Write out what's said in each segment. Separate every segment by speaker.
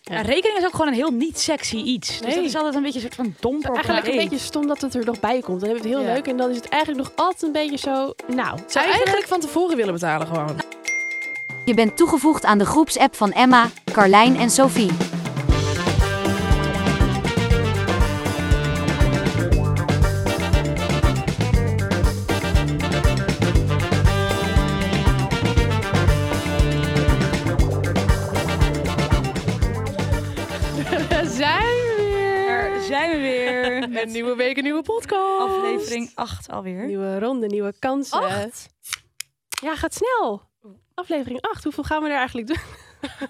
Speaker 1: Ja, rekening is ook gewoon een heel niet sexy iets. Dus
Speaker 2: Nee.
Speaker 1: dat is altijd een beetje een soort van domper. op
Speaker 2: Eigenlijk een
Speaker 1: één.
Speaker 2: beetje stom dat het er nog bij komt. Dan hebben we het heel
Speaker 3: Ja.
Speaker 2: leuk en dan is het eigenlijk nog altijd een beetje zo. Nou,
Speaker 3: Zou je eigenlijk van tevoren willen betalen gewoon.
Speaker 4: Je bent toegevoegd aan de groepsapp van Emma, Carlijn en Sophie.
Speaker 2: we zijn weer.
Speaker 1: Daar zijn we weer met
Speaker 2: Een nieuwe week, een nieuwe podcast.
Speaker 1: aflevering 8 alweer.
Speaker 2: Nieuwe ronde, nieuwe kansen.
Speaker 3: Acht?
Speaker 2: Ja, gaat snel. Aflevering 8. Hoeveel gaan we er eigenlijk doen?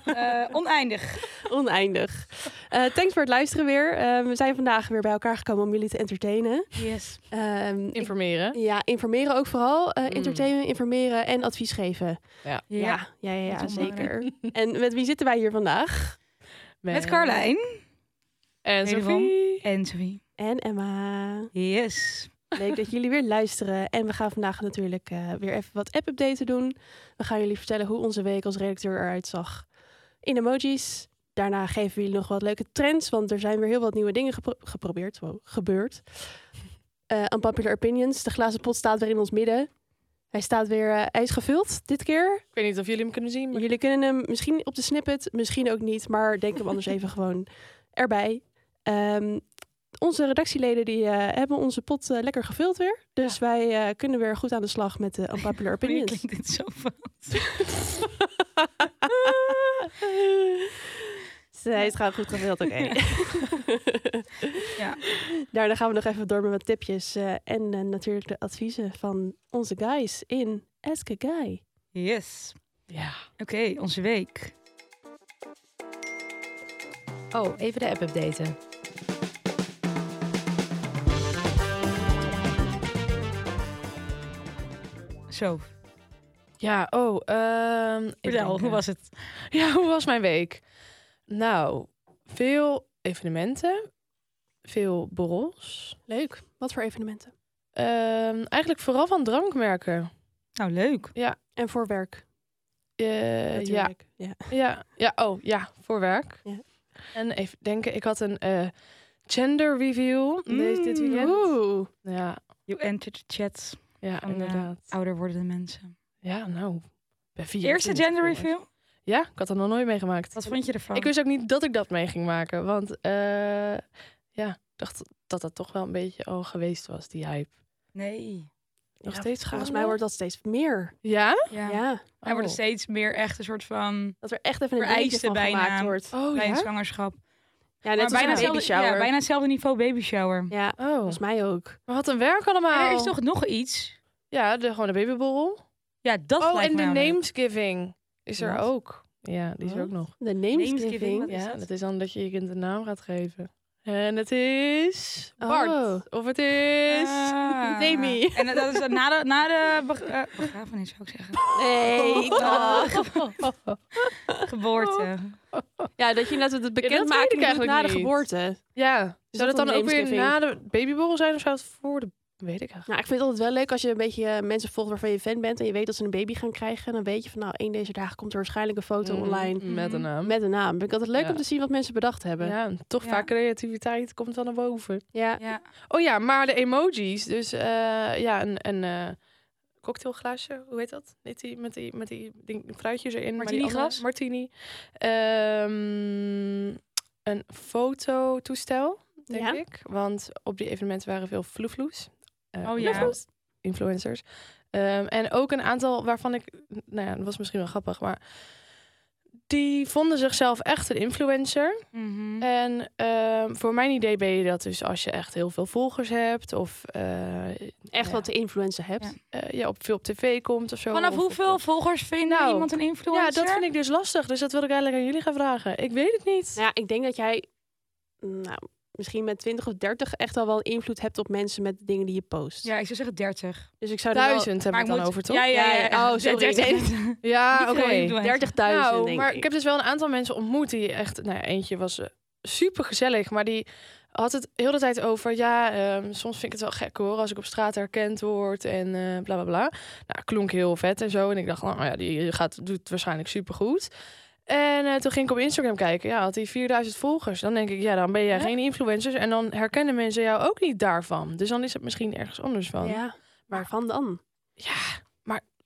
Speaker 1: Eh, oneindig.
Speaker 2: Oneindig. Eh, thanks voor het luisteren weer. Eh, we zijn vandaag weer bij elkaar gekomen om jullie te entertainen.
Speaker 1: Yes.
Speaker 2: Ehm, ik-
Speaker 3: Informeren.
Speaker 2: ja, informeren ook vooral. Eh,
Speaker 3: Mm.
Speaker 2: Entertainen, informeren en advies geven.
Speaker 1: Ja.
Speaker 2: ja, ja, ja,
Speaker 1: dat is
Speaker 2: zeker. En met wie zitten wij hier vandaag?
Speaker 1: Met Carlijn
Speaker 3: En
Speaker 1: Een van.
Speaker 3: Sophie.
Speaker 1: en Sophie.
Speaker 2: En Emma.
Speaker 1: Yes.
Speaker 2: Leuk dat jullie weer luisteren. En we gaan vandaag natuurlijk eh, weer even wat app-updaten doen. We gaan jullie vertellen hoe onze week als redacteur eruit zag in emojis. Daarna geven we jullie nog wat leuke trends, want er zijn weer heel wat nieuwe dingen gepro- geprobeerd. Wow, gebeurd. Eh unpopular opinions. De glazen pot staat weer in ons midden. Hij staat weer, eh, hij is gevuld dit keer.
Speaker 3: Ik weet niet of jullie hem kunnen zien, maar
Speaker 2: Jullie kunnen hem misschien op de snippet, misschien ook niet, maar denk hem anders even gewoon erbij. Ehm, onze redactieleden die, eh, hebben onze pot eh, lekker gevuld weer. Dus wij eh, kunnen weer goed aan de slag met de unpopular
Speaker 1: Wanneer
Speaker 2: opinions.
Speaker 1: klinkt dit zo fout?
Speaker 2: Zij is gewoon goed gevuld, oké.
Speaker 1: Ja.
Speaker 2: Daarna gaan we nog even door met wat tipjes. eh, en eh, natuurlijk de adviezen van onze guys in Ask a Guy.
Speaker 1: Yes.
Speaker 3: ja.
Speaker 1: Oké, onze week.
Speaker 5: Oh, even de app updaten.
Speaker 1: Zo,
Speaker 3: Ja, oh. ehm, even
Speaker 1: vertel,
Speaker 3: denken.
Speaker 1: hoe was het?
Speaker 3: Ja, hoe was mijn week? Nou, veel evenementen. Veel borrels.
Speaker 2: Leuk. Wat voor evenementen?
Speaker 3: Ehm, eigenlijk vooral van drankmerken.
Speaker 1: Nou, leuk.
Speaker 2: En voor werk.
Speaker 3: Eh ja,
Speaker 2: natuurlijk. ja.
Speaker 3: Ja, ja, oh ja, voor werk.
Speaker 2: Ja.
Speaker 3: En even denken, ik had een eh, gender review deze, dit
Speaker 1: Mm,
Speaker 3: weekend.
Speaker 2: Oeh.
Speaker 3: Ja,
Speaker 1: You entered the chat.
Speaker 3: ja
Speaker 1: Van, eh,
Speaker 3: inderdaad.
Speaker 1: Ouder wordende mensen.
Speaker 3: ja, nou. bij
Speaker 1: De eerste
Speaker 3: 24
Speaker 1: gender
Speaker 3: jongens.
Speaker 1: review?
Speaker 3: Ja, ik had dat nog nooit meegemaakt.
Speaker 1: Wat vond je ervan?
Speaker 3: Ik wist ook niet dat ik dat mee ging maken, want eh, ja, ik dacht dat dat toch wel een beetje al geweest was, die hype.
Speaker 1: Nee.
Speaker 2: Nog
Speaker 3: Oh, Ja,
Speaker 2: steeds Volgens
Speaker 3: gaande?
Speaker 2: mij wordt dat steeds meer.
Speaker 3: Ja?
Speaker 1: Ja.
Speaker 2: ja.
Speaker 1: Hij wordt
Speaker 3: Oh.
Speaker 1: steeds meer echt een soort van
Speaker 2: Dat er echt even een
Speaker 1: Vereiste
Speaker 2: eindje van
Speaker 1: bijna.
Speaker 2: gemaakt wordt.
Speaker 3: Oh
Speaker 1: bij een
Speaker 3: ja?
Speaker 1: zwangerschap.
Speaker 2: Ja, net als
Speaker 1: bijna,
Speaker 2: een baby
Speaker 1: hetzelfde-
Speaker 2: shower.
Speaker 1: ja, bijna hetzelfde niveau baby shower.
Speaker 2: Ja,
Speaker 3: Oh,
Speaker 2: volgens mij ook.
Speaker 3: maar wat een werk allemaal.
Speaker 1: Maar er is toch nog iets?
Speaker 3: Ja, de, gewoon de babyborrel.
Speaker 1: Ja, dat
Speaker 3: Oh,
Speaker 1: lijkt
Speaker 3: en de
Speaker 1: mij wel leuk.
Speaker 3: namesgiving is er
Speaker 1: Wat?
Speaker 3: ook. Ja, die is er ook nog.
Speaker 2: De
Speaker 1: Namesgiving,
Speaker 2: namesgiving.
Speaker 1: wat- is
Speaker 3: Ja,
Speaker 1: dat?
Speaker 3: dat is dan dat je je kind een naam gaat geven. En het is Bart.
Speaker 2: Oh.
Speaker 3: Of het is...
Speaker 1: Ah.
Speaker 2: Demi.
Speaker 1: En dat- dat is na de, na de beg- eh, begrafenis, zou ik zeggen.
Speaker 2: Nee,
Speaker 1: Oh,
Speaker 2: toch.
Speaker 3: Oh.
Speaker 1: Geboorte.
Speaker 2: Ja, dat je net het bekend
Speaker 3: weet
Speaker 2: maakt
Speaker 3: ik eigenlijk
Speaker 2: na de
Speaker 3: niet.
Speaker 2: geboorte.
Speaker 3: Ja, zou
Speaker 2: dat
Speaker 3: dat dan
Speaker 2: een
Speaker 3: ook weer
Speaker 2: namesgiving?
Speaker 3: na de babyborrel zijn of zou het voor de... Weet ik eigenlijk.
Speaker 2: Nou, ik vind het altijd wel leuk als je een beetje eh, mensen volgt waarvan je fan bent en je weet dat ze een baby gaan krijgen. Dan weet je van nou, één deze dagen komt er waarschijnlijk een foto
Speaker 3: Mm,
Speaker 2: online
Speaker 3: Met een naam.
Speaker 2: met een naam. Vind ik altijd leuk
Speaker 3: Ja.
Speaker 2: om te zien wat mensen bedacht hebben. Ja.
Speaker 3: Ja, toch
Speaker 1: Ja.
Speaker 3: vaak creativiteit komt wel naar boven.
Speaker 1: Ja.
Speaker 3: Oh ja, maar de emojis. Dus eh, ja, een, een eh, cocktailglaasje. Hoe heet dat? Met die, met die, met die ding, fruitjes erin. maar die andere-
Speaker 1: Martini-glas?
Speaker 3: Martini. Ehm, een fototoestel, denk
Speaker 2: Ja.
Speaker 3: ik. Want op die evenementen waren veel vloevloes. Eh,
Speaker 1: Oh ja.
Speaker 3: vloevloes, Influencers. Ehm, en ook een aantal waarvan ik... Nou ja, dat was misschien wel grappig, maar... Die vonden zichzelf echt een influencer.
Speaker 1: Mhm.
Speaker 3: En ehm, voor mijn idee ben je dat dus als je echt heel veel volgers hebt of eh,
Speaker 2: Echt
Speaker 3: Ja.
Speaker 2: wat de influencer hebt.
Speaker 1: Ja.
Speaker 3: eh, ja, op veel op tv komt of zo.
Speaker 1: Vanaf
Speaker 3: Of-
Speaker 1: hoeveel
Speaker 3: of-
Speaker 1: volgers vind
Speaker 3: Nou,
Speaker 1: iemand een influencer?
Speaker 3: Ja, dat vind ik dus lastig. Dus dat wil ik eigenlijk aan jullie gaan vragen. Ik weet het niet.
Speaker 2: Nou ja, ik denk dat jij nou, misschien met 20 of 30 echt al wel invloed hebt op mensen met de dingen die je post.
Speaker 1: Ja, ik zou zeggen 30.
Speaker 2: Dus ik zou er wel-
Speaker 3: Duizend hebben we het dan
Speaker 1: ik moet-
Speaker 3: over, toch?
Speaker 1: Ja, ja, ja.
Speaker 2: Ja, ja. Oh, sorry.
Speaker 1: 30.
Speaker 3: Ja,
Speaker 1: Niet
Speaker 3: oké.
Speaker 1: veel influencers.
Speaker 2: 30.000
Speaker 3: Nou,
Speaker 2: denk
Speaker 3: maar
Speaker 2: ik.
Speaker 3: ik heb dus wel een aantal mensen ontmoet die echt... Nou ja, eentje was super gezellig, maar die had het heel de tijd over... Ja, ehm, soms vind ik het wel gek hoor, als ik op straat herkend word en eh bla bla bla. Nou, klonk heel vet en zo. En ik dacht, nou ja, die gaat, doet het waarschijnlijk supergoed. Eh, En eh, toen ging ik op Instagram kijken. Ja, had hij 4000 volgers. Dan denk ik, ja, dan ben jij geen influencer. En dan herkennen mensen jou ook niet daarvan. Dus dan is het misschien ergens anders van.
Speaker 2: Ja, maar van dan?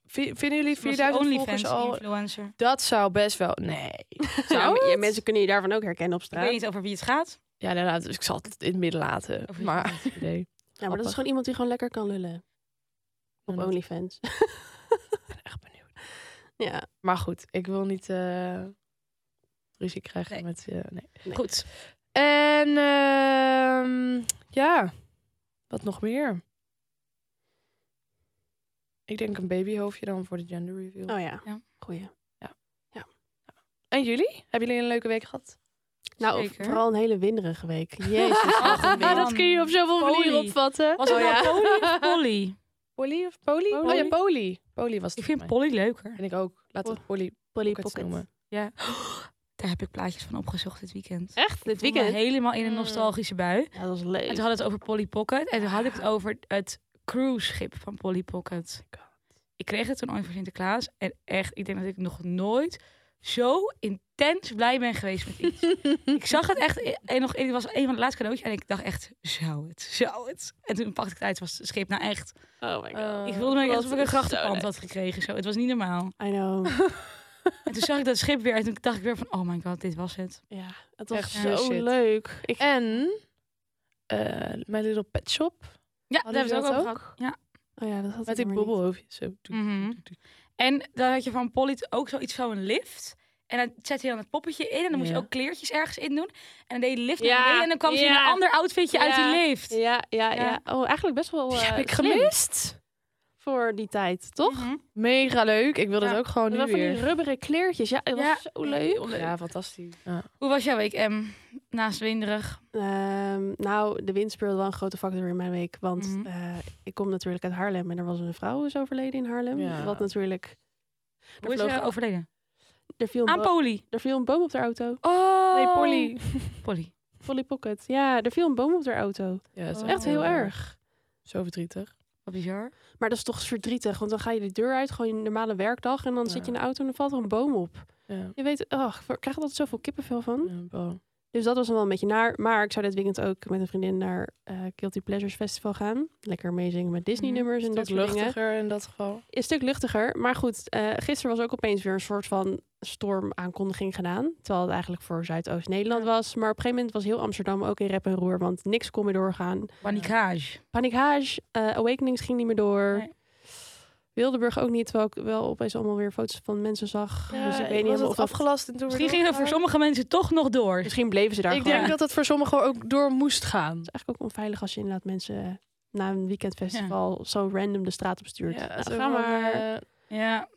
Speaker 3: Vi- Vinden jullie
Speaker 1: Was
Speaker 3: 4000 volgers
Speaker 1: OnlyFans
Speaker 3: al...
Speaker 1: influencer.
Speaker 3: Dat zou best wel... Nee.
Speaker 2: Ja,
Speaker 3: Zou
Speaker 2: maar- ja,
Speaker 3: het?
Speaker 2: mensen kunnen je daarvan ook herkennen op
Speaker 1: Ik weet
Speaker 2: straat.
Speaker 1: niet over wie het gaat.
Speaker 3: Ja, inderdaad. Dus ik zal het in het midden laten.
Speaker 1: Of-
Speaker 3: Maar nee.
Speaker 2: Ja, maar dat is gewoon iemand die gewoon lekker kan lullen. Op
Speaker 3: dat-
Speaker 2: OnlyFans.
Speaker 3: Ik ben echt benieuwd.
Speaker 2: ja,
Speaker 3: Maar goed, ik wil niet eh, ruzie krijgen
Speaker 1: Nee.
Speaker 3: met... eh, nee.
Speaker 2: goed.
Speaker 3: En ehm, ja, wat nog meer? Ik denk een babyhoofdje dan voor de gender reveal.
Speaker 2: Oh ja,
Speaker 1: Ja.
Speaker 2: goeie.
Speaker 3: En jullie? Hebben jullie een leuke week gehad?
Speaker 2: Nou,
Speaker 1: Zeker.
Speaker 2: vooral een hele winderige week. Jezus. wat
Speaker 1: Ach,
Speaker 2: een
Speaker 1: man.
Speaker 2: week.
Speaker 3: Ah, dat kun je op zoveel
Speaker 1: Poli.
Speaker 3: manieren opvatten.
Speaker 1: Was het
Speaker 2: Oh,
Speaker 1: nou
Speaker 2: ja.
Speaker 1: Polly of Polly?
Speaker 3: Polly of Polly?
Speaker 2: Poli.
Speaker 3: Oh ja, Polly. Polly was het
Speaker 1: Ik
Speaker 3: voor
Speaker 1: vind
Speaker 3: mij.
Speaker 1: Polly leuker.
Speaker 3: En ik ook. Laten we Polly
Speaker 2: Polly
Speaker 3: Pockets
Speaker 2: Pocket.
Speaker 3: noemen.
Speaker 1: Ja. Daar heb ik plaatjes van opgezocht dit weekend.
Speaker 2: Echt? Dit
Speaker 1: Ik ben
Speaker 2: weekend?
Speaker 1: helemaal in een
Speaker 3: Mm.
Speaker 1: nostalgische bui.
Speaker 2: Ja, dat was leuk.
Speaker 1: En toen hadden we het over Polly Pocket. En toen had ik het over het cruiseschip van Polly Pocket. Ik kreeg het toen ooit voor Sinterklaas. En echt, ik denk dat ik nog nooit zo intens blij ben geweest met iets. ik zag het echt. e-, En nog, het was een van de laatste cadeautjes. En ik dacht echt, zou het, zou het. En toen pakte ik het uit. was het schip nou echt.
Speaker 2: Oh my god.
Speaker 1: ik voelde me echt
Speaker 2: wat
Speaker 1: alsof ik een
Speaker 2: is zo
Speaker 1: grachtenpand
Speaker 2: leuk.
Speaker 1: had gekregen. Zo. Het was niet normaal.
Speaker 3: Oh.
Speaker 2: I know.
Speaker 1: En toen zag ik dat schip weer. En toen dacht ik weer van, oh my god, dit was het.
Speaker 2: Ja, het was
Speaker 3: Echt
Speaker 2: zo
Speaker 3: shit.
Speaker 2: leuk. Ik,
Speaker 3: En eh My Little Pet Shop.
Speaker 1: Ja, daar
Speaker 3: Hadden
Speaker 1: hebben we het ook
Speaker 3: jullie
Speaker 1: over
Speaker 3: dat
Speaker 1: gehad. Ja.
Speaker 2: oh ja, dat had
Speaker 3: Met
Speaker 2: ik
Speaker 3: die
Speaker 2: maar niet.
Speaker 3: bobbelhoofdjes. Zo.
Speaker 1: Mhm. En dan had je van Polly ook zoiets van een lift. En dan zette hij dan het poppetje in. En dan moest je
Speaker 3: Ja.
Speaker 1: ook kleertjes ergens in doen. En dan deed je de lift
Speaker 2: Ja,
Speaker 1: naar beneden. En dan kwam ze in
Speaker 2: ja.
Speaker 1: een ander outfitje uit die
Speaker 2: Ja.
Speaker 1: lift.
Speaker 2: Ja, ja, ja,
Speaker 1: Ja.
Speaker 2: Oh, eigenlijk best wel
Speaker 3: Die
Speaker 2: eh,
Speaker 3: heb ik
Speaker 2: slim
Speaker 3: gemist.
Speaker 2: voor die tijd, toch?
Speaker 1: Mhm.
Speaker 3: Mega leuk. Ik wil
Speaker 1: Ja.
Speaker 3: dat ook gewoon
Speaker 2: Wel
Speaker 3: nu
Speaker 2: van die
Speaker 3: weer.
Speaker 2: rubberen kleertjes. Oh, Ja, dat
Speaker 1: Ja,
Speaker 2: was zo leuk.
Speaker 1: heel leuk.
Speaker 3: Ja, fantastisch. Ja.
Speaker 1: Hoe was jouw week, M? Naast winderig.
Speaker 2: Ehm, nou, de wind speelde wel een grote factor in mijn week. Want
Speaker 1: Mhm.
Speaker 2: eh, ik kom natuurlijk uit Haarlem en er was een vrouw is overleden in Haarlem.
Speaker 3: Ja.
Speaker 2: Wat natuurlijk...
Speaker 1: Hoe is
Speaker 2: vloog
Speaker 1: ze
Speaker 2: een-
Speaker 1: overleden?
Speaker 2: Er viel, een
Speaker 1: Aan
Speaker 2: bo-
Speaker 1: Polly.
Speaker 2: er viel een boom op de auto.
Speaker 1: Oh.
Speaker 3: Nee, Polly.
Speaker 1: Polly.
Speaker 2: Polly Pocket. Ja, er viel een boom op de auto.
Speaker 3: Ja, het is
Speaker 1: Oh.
Speaker 2: Echt heel erg.
Speaker 3: Zo verdrietig.
Speaker 1: Wat bizar.
Speaker 2: Maar dat is toch verdrietig, want dan ga je de deur uit, gewoon een normale werkdag. En dan
Speaker 3: Ja.
Speaker 2: zit je in de auto en dan valt er een boom op.
Speaker 3: Ja.
Speaker 2: Je weet, ach, ik krijg er altijd zoveel kippenvel van.
Speaker 3: Ja, wel.
Speaker 2: Dus dat was dan wel een beetje naar. Maar ik zou dit weekend ook met een vriendin naar eh Guilty Pleasures Festival gaan. Lekker meezingen met Disney
Speaker 1: Mhm.
Speaker 2: nummers en dat
Speaker 3: Dat
Speaker 2: soort dingen.
Speaker 3: luchtiger in dat geval.
Speaker 2: Een stuk luchtiger. Maar goed, eh, gisteren was ook opeens weer een soort van stormaankondiging gedaan. Terwijl het eigenlijk voor Zuidoost-Nederland was. Maar op een gegeven moment was heel Amsterdam ook in rep en roer. Want niks kon meer doorgaan.
Speaker 1: Panikage.
Speaker 2: Panikage, eh, Awakenings ging niet meer door.
Speaker 1: Nee.
Speaker 2: Wildeburg ook niet, terwijl ik wel opeens allemaal weer foto's van mensen zag.
Speaker 1: Ja,
Speaker 2: dus ik weet niet
Speaker 1: ik
Speaker 3: was
Speaker 2: helemaal of
Speaker 3: het
Speaker 2: dat...
Speaker 3: afgelast en toen
Speaker 1: Misschien gingen voor sommige mensen toch nog door.
Speaker 2: Misschien bleven ze daar
Speaker 3: Ik
Speaker 2: gewoon.
Speaker 3: denk dat het voor sommigen ook door moest gaan.
Speaker 2: Het is eigenlijk ook onveilig als je inderdaad mensen na een weekendfestival zo random de straat op stuurt. Nou,
Speaker 3: zo
Speaker 2: ga
Speaker 3: van,
Speaker 2: maar.
Speaker 3: eh,
Speaker 1: Ja.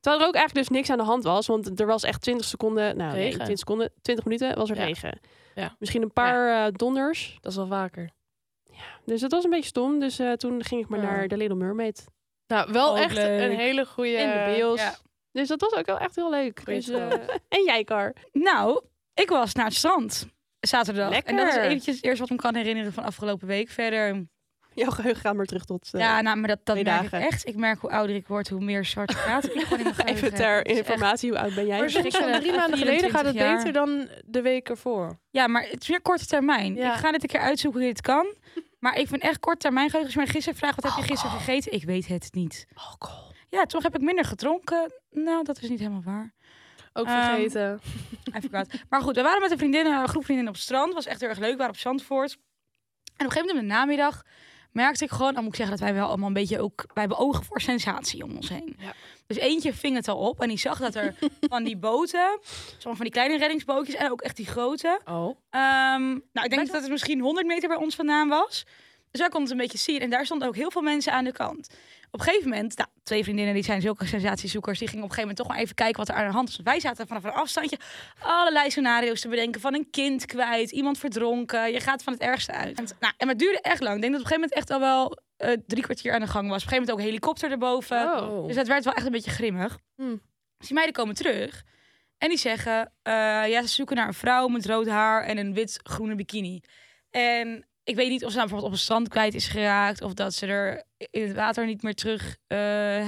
Speaker 2: Terwijl er ook eigenlijk dus niks aan de hand was, want er was echt 20 seconden, nou nee,
Speaker 3: Regen.
Speaker 2: 20 seconden, 20 minuten was er
Speaker 3: Ja.
Speaker 2: regen.
Speaker 3: Ja.
Speaker 2: Misschien een paar eh, donders.
Speaker 3: dat is wel vaker.
Speaker 2: Dus dat was een beetje stom. Dus eh, toen ging ik maar
Speaker 3: Ja.
Speaker 2: naar de Little Mermaid.
Speaker 3: Nou, wel
Speaker 1: Ook
Speaker 3: echt een
Speaker 1: leuk.
Speaker 3: hele goede...
Speaker 2: en de Beels.
Speaker 1: ja.
Speaker 2: Dus dat was ook wel echt heel leuk.
Speaker 3: Goeie
Speaker 2: Dus,
Speaker 3: stap.
Speaker 2: eh, en jij, Kar.
Speaker 1: Nou, ik was naar het strand. Zaterdag. En dat is
Speaker 2: Lekker.
Speaker 1: eventjes het eerste wat ik me kan herinneren van afgelopen week. Verder
Speaker 2: Jouw geheugen gaat maar terug tot. eh,
Speaker 1: Ja, nou, maar dat, dat
Speaker 2: twee
Speaker 1: merk
Speaker 2: dagen.
Speaker 1: ik echt. Ik merk hoe ouder ik word, hoe meer zwart gaat. ik gewoon in mijn geheugen
Speaker 2: even
Speaker 1: heb.
Speaker 2: ter
Speaker 1: Het is echt-
Speaker 2: informatie, hoe oud ben jij?
Speaker 3: Maar soms van drie maanden geleden gaat het
Speaker 1: 24
Speaker 3: beter dan de week ervoor.
Speaker 1: Ja, maar het is meer korte termijn.
Speaker 3: Ja.
Speaker 1: Ik ga dit een keer uitzoeken hoe dit kan. Maar ik vind echt korte termijn geheugen. Als je mij gisteren vraagt,
Speaker 2: Oh,
Speaker 1: wat heb je gisteren gegeten? Ik weet het niet.
Speaker 3: Alcohol.
Speaker 1: Ja, toch heb ik minder gedronken. Nou, dat is niet helemaal waar.
Speaker 3: Ook
Speaker 1: Ehm,
Speaker 3: vergeten.
Speaker 1: I forgot. Maar goed, we waren met een vriendin, een groep vriendinnen op het strand. was echt heel erg leuk. We waren op Zandvoort. En op een gegeven moment in de namiddag merkte ik gewoon... dan moet ik zeggen dat wij wel allemaal een beetje ook... wij hebben ogen voor sensatie om ons heen.
Speaker 3: Ja.
Speaker 1: Dus eentje ving het al op en die zag dat er van die boten... sommige van die kleine reddingsbootjes en ook echt die grote...
Speaker 3: oh.
Speaker 1: Ehm, nou, ik denk dat het misschien 100 meter bij ons vandaan was. Dus wij konden het een beetje zien. En daar stonden ook heel veel mensen aan de kant. Op een gegeven moment, nou, twee vriendinnen die zijn zulke sensatiezoekers, die gingen op een gegeven moment toch maar even kijken wat er aan de hand was. Wij zaten vanaf een afstandje allerlei scenario's te bedenken. Van een kind kwijt, iemand verdronken. Je gaat van het ergste uit. En, nou, en maar het duurde echt lang. Ik denk dat op een gegeven moment echt al wel eh, drie kwartier aan de gang was. Op een gegeven moment ook een helikopter erboven.
Speaker 3: Oh. Mm.
Speaker 1: Dus dat werd wel echt een beetje grimmig.
Speaker 2: Hmm.
Speaker 1: Dus die meiden komen terug en die zeggen... eh, ja, ze zoeken naar een vrouw met rood haar en een wit-groene bikini. En ik weet niet of ze nou bijvoorbeeld op een strand kwijt is geraakt... of dat ze er in het water niet meer terug eh,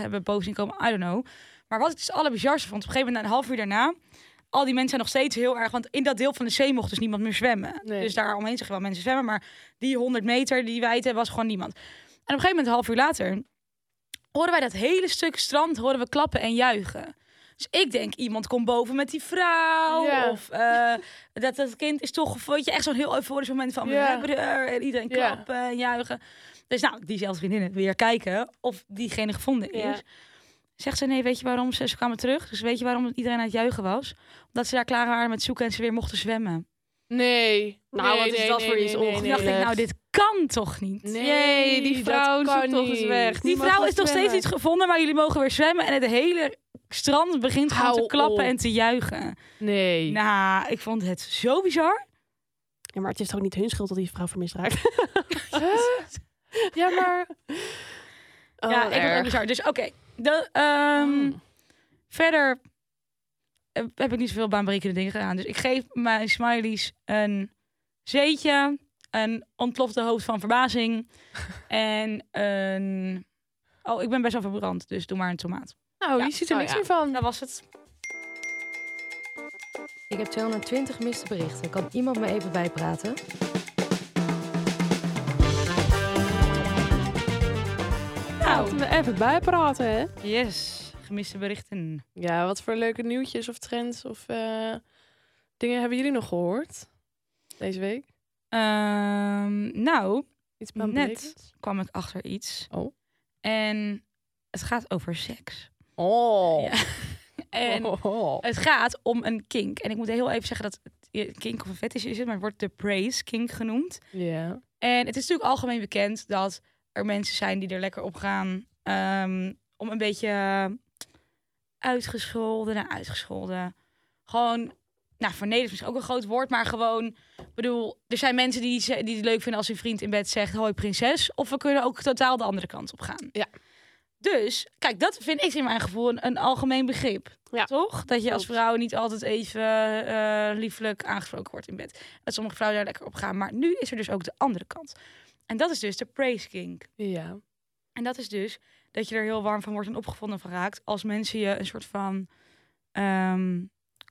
Speaker 1: hebben boven zien komen. I don't know. Maar wat ik dus alle bizarste vond, op een gegeven moment na een half uur daarna... al die mensen zijn nog steeds heel erg... Want in dat deel van de zee mocht dus niemand meer zwemmen.
Speaker 3: Nee.
Speaker 1: Dus daar omheen zeggen wel mensen zwemmen. Maar die 100 meter die wij het hebben, was gewoon niemand. En op een gegeven moment, een half uur later... horen wij dat hele stuk strand horen we klappen en juichen. Dus ik denk, iemand komt boven met die vrouw.
Speaker 3: Ja.
Speaker 1: Of eh, dat het kind is toch... Weet je, echt zo'n heel euforisch moment van...
Speaker 3: Ja.
Speaker 1: We hebben er, en iedereen
Speaker 3: Ja.
Speaker 1: klappen en juichen. Dus nou, diezelfde vriendinnen weer kijken of diegene gevonden is.
Speaker 2: Ja.
Speaker 1: Zegt ze, nee, weet je waarom? Ze, ze kwamen terug. Dus weet je waarom iedereen aan het juichen was? Omdat ze daar klaar waren met zoeken en ze weer mochten zwemmen.
Speaker 3: Nee.
Speaker 2: Nou,
Speaker 3: nee,
Speaker 2: wat is
Speaker 3: nee,
Speaker 2: dat
Speaker 3: nee,
Speaker 2: voor
Speaker 3: nee,
Speaker 2: iets
Speaker 3: nee, nee,
Speaker 1: Toen
Speaker 2: ongelooflijk.
Speaker 1: dacht
Speaker 3: nee.
Speaker 1: ik, nou, dit kan toch niet?
Speaker 3: Nee,
Speaker 2: Jee, die
Speaker 3: dat
Speaker 2: vrouw
Speaker 3: kan
Speaker 2: zoekt toch eens
Speaker 3: niet.
Speaker 2: weg.
Speaker 1: Die vrouw is nog steeds niet gevonden, maar jullie mogen weer zwemmen. En het hele strand begint gewoon
Speaker 3: Hou
Speaker 1: te klappen
Speaker 3: op.
Speaker 1: en te juichen.
Speaker 3: Nee.
Speaker 1: Nou, ik vond het zo bizar.
Speaker 2: Ja, maar het is toch niet hun schuld dat die vrouw vermist raakt?
Speaker 3: Huh? Ja, maar... Oh,
Speaker 1: ja, ik vond het ook bizar. Dus oké. de- ehm, Verder eh, heb ik niet zoveel baanbrekende dingen gedaan. Dus ik geef mijn smileys een zeetje, een ontplofte hoofd van verbazing en een... Oh, ik ben best wel verbrand, dus doe maar een tomaat.
Speaker 3: Nou,
Speaker 1: Ja.
Speaker 3: die ziet er
Speaker 5: Oh,
Speaker 3: niks
Speaker 5: ja.
Speaker 3: meer van.
Speaker 1: Dat was het.
Speaker 5: Ik heb 220 miste berichten. Kan iemand me even bijpraten?
Speaker 1: Nou,
Speaker 2: we even bijpraten, hè?
Speaker 1: yes. Gemiste berichten.
Speaker 3: Ja, wat voor leuke nieuwtjes of trends of eh, dingen hebben jullie nog gehoord deze week?
Speaker 1: Ehm, nou,
Speaker 3: Iets
Speaker 1: Net.
Speaker 3: baanbrekends?
Speaker 1: kwam ik achter iets.
Speaker 3: Oh.
Speaker 1: En het gaat over seks.
Speaker 3: Oh.
Speaker 1: Ja. En
Speaker 3: Oh, oh, oh.
Speaker 1: Het gaat om een kink. En ik moet heel even zeggen dat het kink of een fetish is, het, maar het wordt de praise kink genoemd.
Speaker 3: Ja.
Speaker 1: En het is natuurlijk algemeen bekend dat er mensen zijn die er lekker op gaan ehm, om een beetje eh, uitgescholden, nou uitgescholden. Gewoon, nou vernederd is misschien ook een groot woord, maar gewoon, ik bedoel, er zijn mensen die, ze- die het leuk vinden als hun vriend in bed zegt, hoi prinses. Of we kunnen ook totaal de andere kant op gaan.
Speaker 3: Ja.
Speaker 1: Dus, kijk, dat vind ik in mijn gevoel een, een algemeen begrip.
Speaker 2: Ja.
Speaker 1: Toch? Dat je als
Speaker 2: Klopt.
Speaker 1: vrouw niet altijd even eh, lieflijk aangesproken wordt in bed dat sommige vrouwen daar lekker op gaan. Maar nu is er dus ook de andere kant. En dat is dus de praise kink.
Speaker 3: Ja.
Speaker 1: En dat is dus dat je er heel warm van wordt en opgevonden van raakt. Als mensen je een soort van ehm,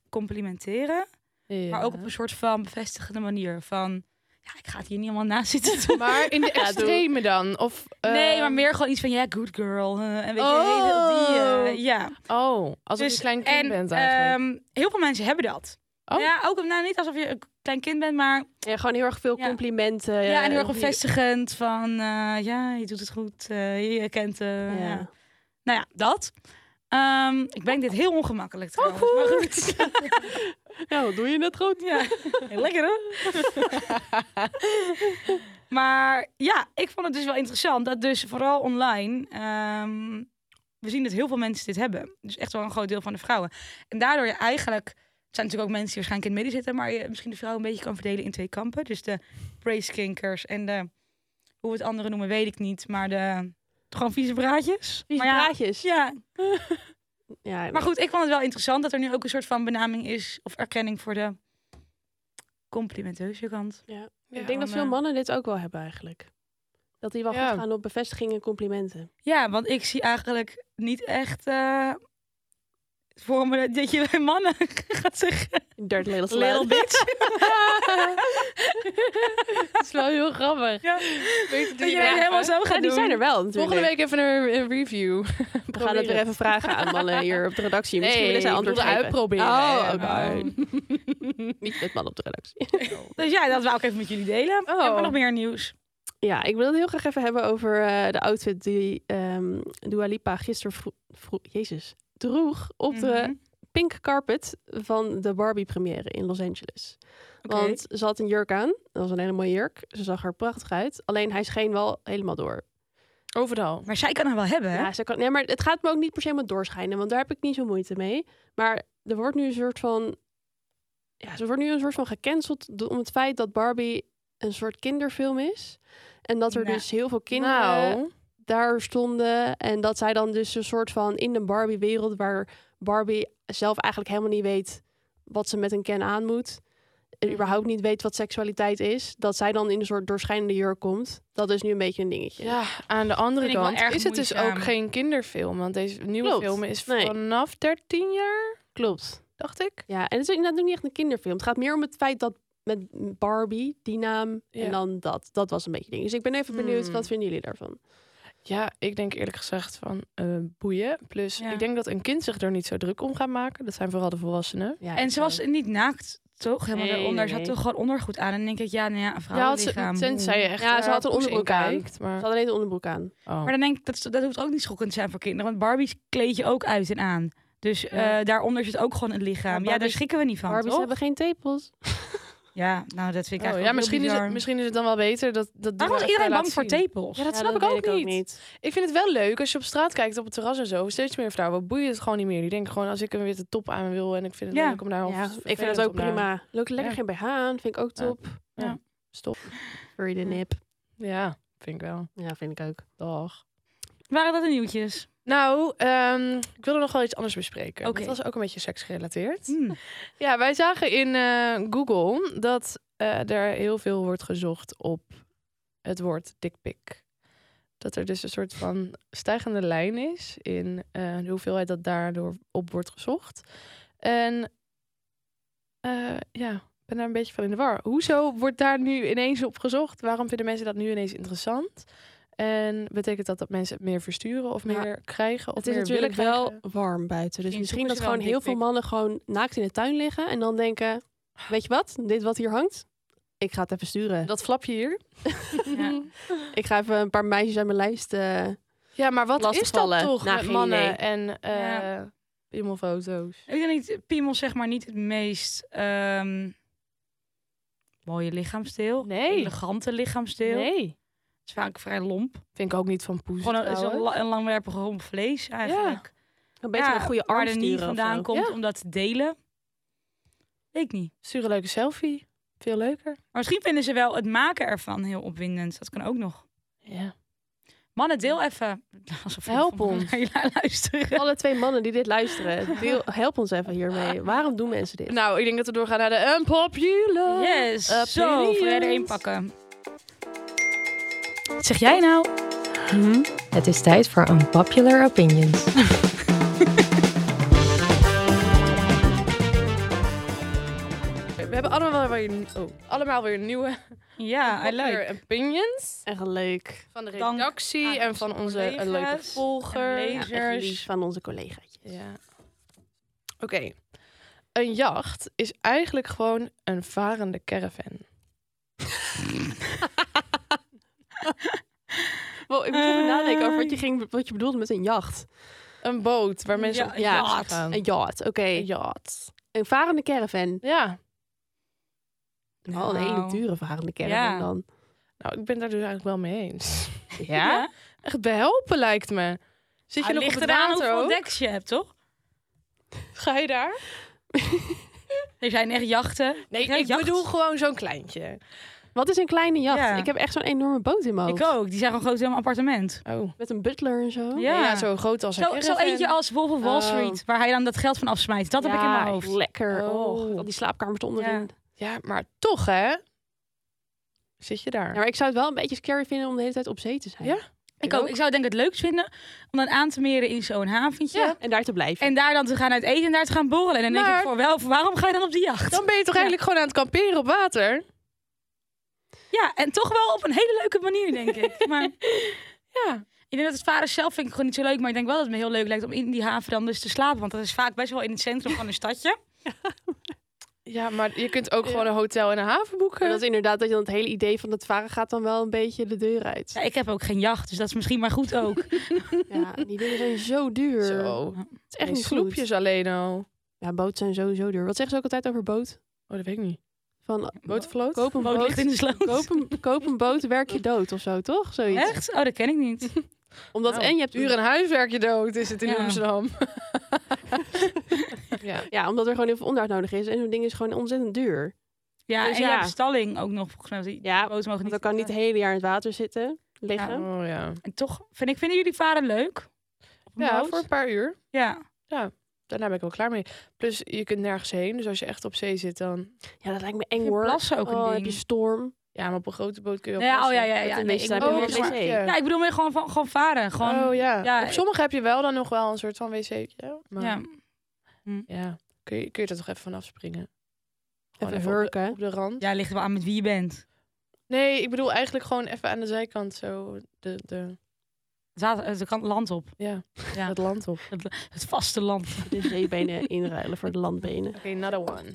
Speaker 1: complimenteren.
Speaker 3: Ja.
Speaker 1: Maar ook op een soort van bevestigende manier. Van, ja, ik ga het hier niet helemaal naast zitten doen.
Speaker 3: Maar in de
Speaker 2: doe.
Speaker 3: extreme dan? Of, eh,
Speaker 1: Nee, maar meer gewoon iets van, ja, good girl. eh, en weet je,
Speaker 3: Oh.
Speaker 1: heel die... eh, ja.
Speaker 3: Oh, alsof je
Speaker 1: Dus-
Speaker 3: een klein kind
Speaker 1: en,
Speaker 3: bent eigenlijk.
Speaker 1: ehm, heel veel mensen hebben dat.
Speaker 3: Oh.
Speaker 1: Ja, ook nou, niet alsof je een klein kind bent, maar
Speaker 2: Ja, gewoon heel erg veel
Speaker 1: Ja.
Speaker 2: complimenten. eh,
Speaker 1: Ja, en heel erg
Speaker 2: die-
Speaker 1: bevestigend van, eh, ja, je doet het goed, eh, je kent, eh, ja.
Speaker 2: Ja.
Speaker 1: nou ja, dat. Ehm, ik breng dit heel ongemakkelijk trouwens, maar Oh, goed.
Speaker 2: Ja, wat doe je net goed?
Speaker 1: Ja, heel lekker hoor. maar ja, ik vond het dus wel interessant dat dus vooral online, ehm, we zien dat heel veel mensen dit hebben. Dus echt wel een groot deel van de vrouwen. En daardoor je eigenlijk, het zijn natuurlijk ook mensen die waarschijnlijk in het midden zitten, maar je misschien de vrouwen een beetje kan verdelen in twee kampen. Dus de praise kinkers en de, hoe we het anderen noemen weet ik niet, maar de, gewoon vieze braadjes.
Speaker 2: Die
Speaker 1: maar ja,
Speaker 2: praatjes.
Speaker 1: ja,
Speaker 2: Ja,
Speaker 1: maar goed, ik vond het wel interessant dat er nu ook een soort van benaming is of erkenning voor de complimenteuze kant.
Speaker 2: ik denk dat
Speaker 1: dan,
Speaker 2: veel
Speaker 1: eh,
Speaker 2: mannen dit ook wel hebben eigenlijk. Dat die wel
Speaker 3: Ja.
Speaker 2: goed gaan op bevestigingen en complimenten.
Speaker 1: Ja, want ik zie eigenlijk niet echt eh, voor me dat je bij mannen gaat zeggen.
Speaker 2: Dirt little
Speaker 1: Little bitch.
Speaker 3: dat is wel heel grappig.
Speaker 1: Ja.
Speaker 3: Weet
Speaker 1: Dat je helemaal zo gaat
Speaker 2: Ja, die
Speaker 1: doen.
Speaker 2: zijn er wel natuurlijk.
Speaker 3: Volgende week even een, een review.
Speaker 2: We gaan het weer even vragen aan mannen hier op de redactie. Misschien willen zij
Speaker 3: ik
Speaker 2: antwoord
Speaker 3: wilde
Speaker 2: geven.
Speaker 3: uitproberen. Ja.
Speaker 2: Oh, oké.
Speaker 1: Oh.
Speaker 2: Niet met mannen op de redactie.
Speaker 1: Dus ja, dat wou ik even met jullie delen.
Speaker 3: Oh.
Speaker 1: Hebben we nog meer nieuws?
Speaker 2: Ja, ik wil het heel graag even hebben over eh, de outfit die ehm Dua Lipa gisteren vro- vro- Jezus, droeg op
Speaker 1: Mhm.
Speaker 2: de pink carpet van de Barbie-première in Los Angeles.
Speaker 1: Oké.
Speaker 2: Want ze had een jurk aan. Dat was een hele mooie jurk. Ze zag er prachtig uit. Alleen hij scheen wel helemaal door.
Speaker 3: Overal.
Speaker 1: Maar zij kan hem wel hebben, hè?
Speaker 2: Ja, ze kan, nee, maar het gaat me ook niet per se om het doorschijnen, want daar heb ik niet zo moeite mee. Maar er wordt nu een soort van. Ja, ze wordt nu een soort van gecanceld do- om het feit dat Barbie een soort kinderfilm is. En dat er
Speaker 1: Nou.
Speaker 2: dus heel veel kinderen
Speaker 3: Nou,
Speaker 2: daar stonden. En dat zij dan dus een soort van in de Barbie-wereld, waar Barbie zelf eigenlijk helemaal niet weet wat ze met een ken aan moet.
Speaker 3: Mhm.
Speaker 2: En überhaupt niet weet wat seksualiteit is. Dat zij dan in een soort doorschijnende jurk komt. Dat is nu een beetje een dingetje.
Speaker 3: ja, aan de andere
Speaker 1: Vind ik wel
Speaker 3: kant
Speaker 1: erg
Speaker 3: is het dus
Speaker 1: moeizaam.
Speaker 3: ook geen kinderfilm. Want deze nieuwe
Speaker 2: Klopt.
Speaker 3: film is
Speaker 2: Nee.
Speaker 3: vanaf 13 jaar.
Speaker 2: klopt.
Speaker 3: dacht ik.
Speaker 2: Ja, en het is inderdaad ook niet echt een kinderfilm. Het gaat meer om het feit dat met Barbie, die naam,
Speaker 3: Ja.
Speaker 2: en dan dat. Dat was een beetje het ding. Dus ik ben even benieuwd,
Speaker 1: Hmm.
Speaker 2: wat vinden jullie daarvan?
Speaker 3: Ja, ik denk eerlijk gezegd van eh, boeien. Plus,
Speaker 1: Ja.
Speaker 3: ik denk dat een kind zich er niet zo druk om gaat maken. Dat zijn vooral de volwassenen.
Speaker 2: Ja,
Speaker 1: En ze was niet naakt, toch? Helemaal
Speaker 2: Nee,
Speaker 1: eronder.
Speaker 2: nee,
Speaker 1: Ze had
Speaker 2: nee.
Speaker 1: toch gewoon ondergoed aan. En dan denk ik, ja, nou ja, een
Speaker 3: Ja, had ze,
Speaker 1: vrouwenlichaam.
Speaker 3: tenzij je echt
Speaker 2: Ja, ze
Speaker 3: eh,
Speaker 2: had een
Speaker 3: poes
Speaker 2: onderbroek aan.
Speaker 3: inkijkt,
Speaker 2: Ze
Speaker 3: Maar,
Speaker 2: had alleen de onderbroek aan.
Speaker 3: oh.
Speaker 1: Maar dan denk ik, dat, is- dat hoeft ook niet schokkend te zijn voor kinderen. Want Barbie's kleed je ook uit en aan. Dus
Speaker 3: Ja.
Speaker 1: eh, daaronder zit ook gewoon een lichaam.
Speaker 2: Maar
Speaker 1: ja, daar
Speaker 2: Barbies-
Speaker 1: schrikken we niet van,
Speaker 2: Barbies
Speaker 1: toch?
Speaker 2: hebben geen tepels.
Speaker 1: Ja, nou, dat vind ik
Speaker 3: Oh,
Speaker 1: eigenlijk
Speaker 3: ja,
Speaker 1: ook
Speaker 3: misschien
Speaker 1: heel
Speaker 3: is,
Speaker 1: bizar.
Speaker 3: het, misschien is het dan wel beter dat dat.
Speaker 1: Waarom
Speaker 3: was
Speaker 1: was iedereen bang voor tepels?
Speaker 3: Ja, dat snap ik,
Speaker 2: weet
Speaker 3: ook, niet. Ik vind het wel leuk als je op straat kijkt, op het terras en zo. Steeds meer vrouwen boeien het gewoon niet meer. Die denken gewoon als ik een witte top aan wil en ik vind het
Speaker 1: Ja.
Speaker 3: leuk om daar. of
Speaker 2: Ja, ik vind
Speaker 3: vervelend
Speaker 2: dat ook
Speaker 3: om daar-
Speaker 2: prima. Leuk lekker
Speaker 3: Ja.
Speaker 2: geen BH aan, vind ik ook
Speaker 3: Ja.
Speaker 2: top.
Speaker 3: Stop.
Speaker 2: Furry de nip.
Speaker 3: Ja, vind ik wel.
Speaker 2: Ja, vind ik ook.
Speaker 3: Dag.
Speaker 1: Waren dat de nieuwtjes?
Speaker 3: Nou, ehm, ik wilde nog wel iets anders bespreken.
Speaker 1: Oké.
Speaker 3: Dat was ook een beetje seksgerelateerd.
Speaker 1: Hm.
Speaker 3: Ja, wij zagen in eh, Google dat eh, er heel veel wordt gezocht op het woord dikpik. Dat er dus een soort van stijgende lijn is in eh, de hoeveelheid dat daardoor op wordt gezocht. En eh, ja, ik ben daar een beetje van in de war. Hoezo wordt daar nu ineens op gezocht? Waarom vinden mensen dat nu ineens interessant? En betekent dat dat mensen het meer versturen of
Speaker 2: Ja,
Speaker 3: meer krijgen? Of
Speaker 2: het is
Speaker 3: meer
Speaker 2: natuurlijk
Speaker 3: willen
Speaker 2: wel
Speaker 3: krijgen?
Speaker 2: warm buiten. Dus
Speaker 1: Misschien
Speaker 2: misschien
Speaker 1: zoeken
Speaker 2: dat
Speaker 1: ze wel
Speaker 2: gewoon
Speaker 1: een
Speaker 2: heel veel
Speaker 1: dikpik.
Speaker 2: mannen gewoon naakt in de tuin liggen. En dan denken, weet je wat? Dit wat hier hangt? Ik ga het even sturen.
Speaker 3: Dat flapje hier.
Speaker 1: Ja.
Speaker 2: Ik ga even een paar meisjes uit mijn lijst. eh,
Speaker 3: Ja, maar wat is dat
Speaker 2: lastigvallen.
Speaker 3: toch
Speaker 2: Nou,
Speaker 3: met
Speaker 2: geen
Speaker 3: mannen
Speaker 2: idee.
Speaker 3: en eh
Speaker 1: Ja.
Speaker 3: piemelfoto's?
Speaker 1: Ik denk niet, piemel zeg maar niet het meest ehm, mooie lichaamsdeel.
Speaker 3: Nee.
Speaker 1: Elegante lichaamsdeel.
Speaker 3: Nee.
Speaker 1: Het is vaak vrij lomp.
Speaker 3: Vind ik ook niet van poes.
Speaker 1: Gewoon een, het is een,
Speaker 3: trouwens.
Speaker 1: la- een langwerpig romp vlees eigenlijk.
Speaker 2: een beter een goede arm
Speaker 1: Waar er niet
Speaker 2: sturen of
Speaker 1: vandaan
Speaker 2: zo.
Speaker 1: komt
Speaker 3: Ja.
Speaker 1: om dat te delen. Weet ik niet.
Speaker 3: Stuur een leuke selfie. Veel leuker.
Speaker 1: Maar misschien vinden ze wel het maken ervan heel opwindend. Dat kan ook nog.
Speaker 3: Ja.
Speaker 1: Mannen, deel even. Alsof je
Speaker 3: Help
Speaker 1: van-
Speaker 3: ons.
Speaker 1: naar je luisteren.
Speaker 2: Alle twee mannen die dit luisteren, deel- help ons even hiermee. Waarom doen mensen dit?
Speaker 3: Nou, ik denk dat we doorgaan naar de unpopular.
Speaker 1: Yes.
Speaker 3: Opinions.
Speaker 1: Zo, voor jij er één pakken. Wat zeg jij nou?
Speaker 5: Het is tijd voor Unpopular Opinions.
Speaker 3: We hebben allemaal weer, oh, allemaal weer nieuwe
Speaker 1: Ja, I like.
Speaker 3: unpopular opinions.
Speaker 2: Echt leuk.
Speaker 3: Van de
Speaker 1: Dank
Speaker 3: redactie
Speaker 1: aan
Speaker 3: en van
Speaker 1: onze
Speaker 3: onze eh,
Speaker 1: collega's
Speaker 3: leuke
Speaker 1: en
Speaker 3: volgers.
Speaker 2: Ja, echt lief van onze collegaatjes.
Speaker 3: Ja. Oké. Een jacht is eigenlijk gewoon een varende caravan.
Speaker 2: Wow, ik moet even
Speaker 1: Eh.
Speaker 2: nadenken over wat je, ging, wat je bedoelde met een jacht.
Speaker 3: Een boot waar mensen
Speaker 1: Ja,
Speaker 3: op
Speaker 1: een
Speaker 3: jacht
Speaker 1: yacht.
Speaker 3: gaan.
Speaker 2: Een yacht, oké.
Speaker 3: Een yacht.
Speaker 2: Een varende caravan.
Speaker 3: Ja.
Speaker 2: Wel een
Speaker 1: Nou.
Speaker 2: hele dure varende caravan
Speaker 1: Ja.
Speaker 2: dan.
Speaker 3: Nou, ik ben daar dus eigenlijk wel mee eens.
Speaker 1: Ja?
Speaker 3: Echt behelpen lijkt me. Zit je
Speaker 1: Ah,
Speaker 3: nog op
Speaker 1: ligt
Speaker 3: het
Speaker 1: eraan
Speaker 3: water
Speaker 1: hoeveel
Speaker 3: ook?
Speaker 1: deks je hebt, toch?
Speaker 3: Ga je daar?
Speaker 1: Er zijn echt jachten.
Speaker 3: Nee,
Speaker 1: Ja,
Speaker 3: ik
Speaker 1: jacht.
Speaker 3: bedoel gewoon zo'n kleintje.
Speaker 2: Wat is een kleine jacht?
Speaker 1: Ja.
Speaker 2: Ik heb echt zo'n enorme boot in mijn hoofd.
Speaker 1: Ik ook. Die zijn gewoon groot in mijn appartement.
Speaker 3: Oh.
Speaker 2: Met een butler en zo.
Speaker 1: Ja.
Speaker 3: Ja, zo groot als een
Speaker 1: Zo, zo
Speaker 3: caravan.
Speaker 1: eentje als Wolf of Wall
Speaker 2: Oh.
Speaker 1: Street, waar hij dan dat geld van afsmijt. Dat heb ik in mijn
Speaker 2: Ja,
Speaker 1: hoofd.
Speaker 2: Lekker.
Speaker 3: Oh.
Speaker 2: Oh, al die slaapkamers onderin.
Speaker 3: Ja, maar toch hè. Zit je daar?
Speaker 2: Ja, maar ik zou het wel een beetje scary vinden om de hele tijd op zee te zijn.
Speaker 3: Ja.
Speaker 1: Ik, ook. ik zou het denk ik het leuk vinden om dan aan te meren in zo'n haventje.
Speaker 2: Ja, En daar te blijven.
Speaker 1: En daar dan te gaan uit eten en daar te gaan borrelen. En dan denk
Speaker 3: Maar-
Speaker 1: ik voor wel, waarom ga je dan op die jacht?
Speaker 3: Dan ben je toch
Speaker 1: Ja.
Speaker 3: eigenlijk gewoon aan het kamperen op water?
Speaker 1: Ja, en toch wel op een hele leuke manier, denk ik. Maar
Speaker 3: Ja.
Speaker 1: ik denk dat het varen zelf vind ik gewoon niet zo leuk. Maar ik denk wel dat het me heel leuk lijkt om in die haven dan dus te slapen. Want dat is vaak best wel in het centrum van een stadje.
Speaker 3: Ja, maar je kunt ook
Speaker 2: Ja.
Speaker 3: gewoon een hotel en een haven boeken.
Speaker 2: Maar dat is inderdaad dat je dan het hele idee van het varen gaat dan wel een beetje de deur uit.
Speaker 1: Ja, ik heb ook geen jacht, dus dat is misschien maar goed ook.
Speaker 2: Ja, die dingen zijn zo duur. Het
Speaker 3: Zo.
Speaker 2: is echt
Speaker 3: Echt
Speaker 2: niet sloepjes.
Speaker 3: sloepjes alleen al.
Speaker 2: Ja, boten zijn sowieso duur. Wat zeggen ze ook altijd over boot?
Speaker 3: Oh, dat weet ik niet.
Speaker 2: Van eh,
Speaker 3: Botenvloot?
Speaker 2: koop een
Speaker 1: Boot
Speaker 2: boot,
Speaker 1: ligt in de sloot.
Speaker 2: koop een, koop een boot, werk je dood of zo, toch? Zoiets.
Speaker 1: Echt? Oh, dat ken ik niet.
Speaker 2: Omdat
Speaker 3: Nou,
Speaker 2: en je hebt
Speaker 3: Uren huiswerk je dood is het in
Speaker 1: Ja.
Speaker 3: Amsterdam. ja.
Speaker 2: Ja, omdat er gewoon heel veel onderhoud nodig is. En zo'n ding is gewoon ontzettend duur.
Speaker 1: Ja,
Speaker 2: Dus
Speaker 1: en je
Speaker 2: ja.
Speaker 1: hebt stalling ook nog volgens mij. want Die
Speaker 2: Ja,
Speaker 1: boten mogen
Speaker 2: Want
Speaker 1: niet.
Speaker 2: dat kan niet het hele jaar in het water zitten, liggen.
Speaker 3: Oh ja.
Speaker 1: En toch vind ik, vinden jullie varen leuk? Op een
Speaker 3: Ja,
Speaker 1: boot?
Speaker 3: voor een paar uur.
Speaker 1: ja.
Speaker 3: Daarna ben ik wel klaar mee. Plus, je kunt nergens heen. Dus als je echt op zee zit, dan...
Speaker 2: Ja, dat lijkt me
Speaker 1: Ik
Speaker 2: eng
Speaker 1: vind
Speaker 2: hoor.
Speaker 1: plassen ook een
Speaker 2: Oh, heb
Speaker 1: ding.
Speaker 2: je storm.
Speaker 3: Ja, maar op een grote boot kun je wel
Speaker 1: Ja, oh
Speaker 3: plassen.
Speaker 1: ja, ja,
Speaker 2: Dat
Speaker 1: ja.
Speaker 2: de
Speaker 1: Nee, ik,
Speaker 2: meeste
Speaker 1: bedoel
Speaker 2: hebben
Speaker 1: meer
Speaker 2: een
Speaker 1: gewoon-
Speaker 2: wc.
Speaker 1: ja, ik bedoel meer gewoon, van, gewoon varen. Gewoon,
Speaker 3: Oh ja.
Speaker 1: ja.
Speaker 3: Op sommige heb je wel dan nog wel een soort van wc. Maar...
Speaker 1: ja.
Speaker 3: Ja. Kun je, kun je er toch even vanaf springen? Gewoon
Speaker 2: Even
Speaker 3: even, op de-
Speaker 2: hurken.
Speaker 3: op, de rand.
Speaker 1: Ja, ligt er wel aan met wie je bent.
Speaker 3: Nee, ik bedoel eigenlijk gewoon even aan de zijkant zo de, de,
Speaker 1: Het kan land op.
Speaker 3: ja,
Speaker 1: Ja.
Speaker 3: het land op.
Speaker 1: Het vaste land.
Speaker 2: De zeebenen inruilen voor de landbenen.
Speaker 3: Oké, another one.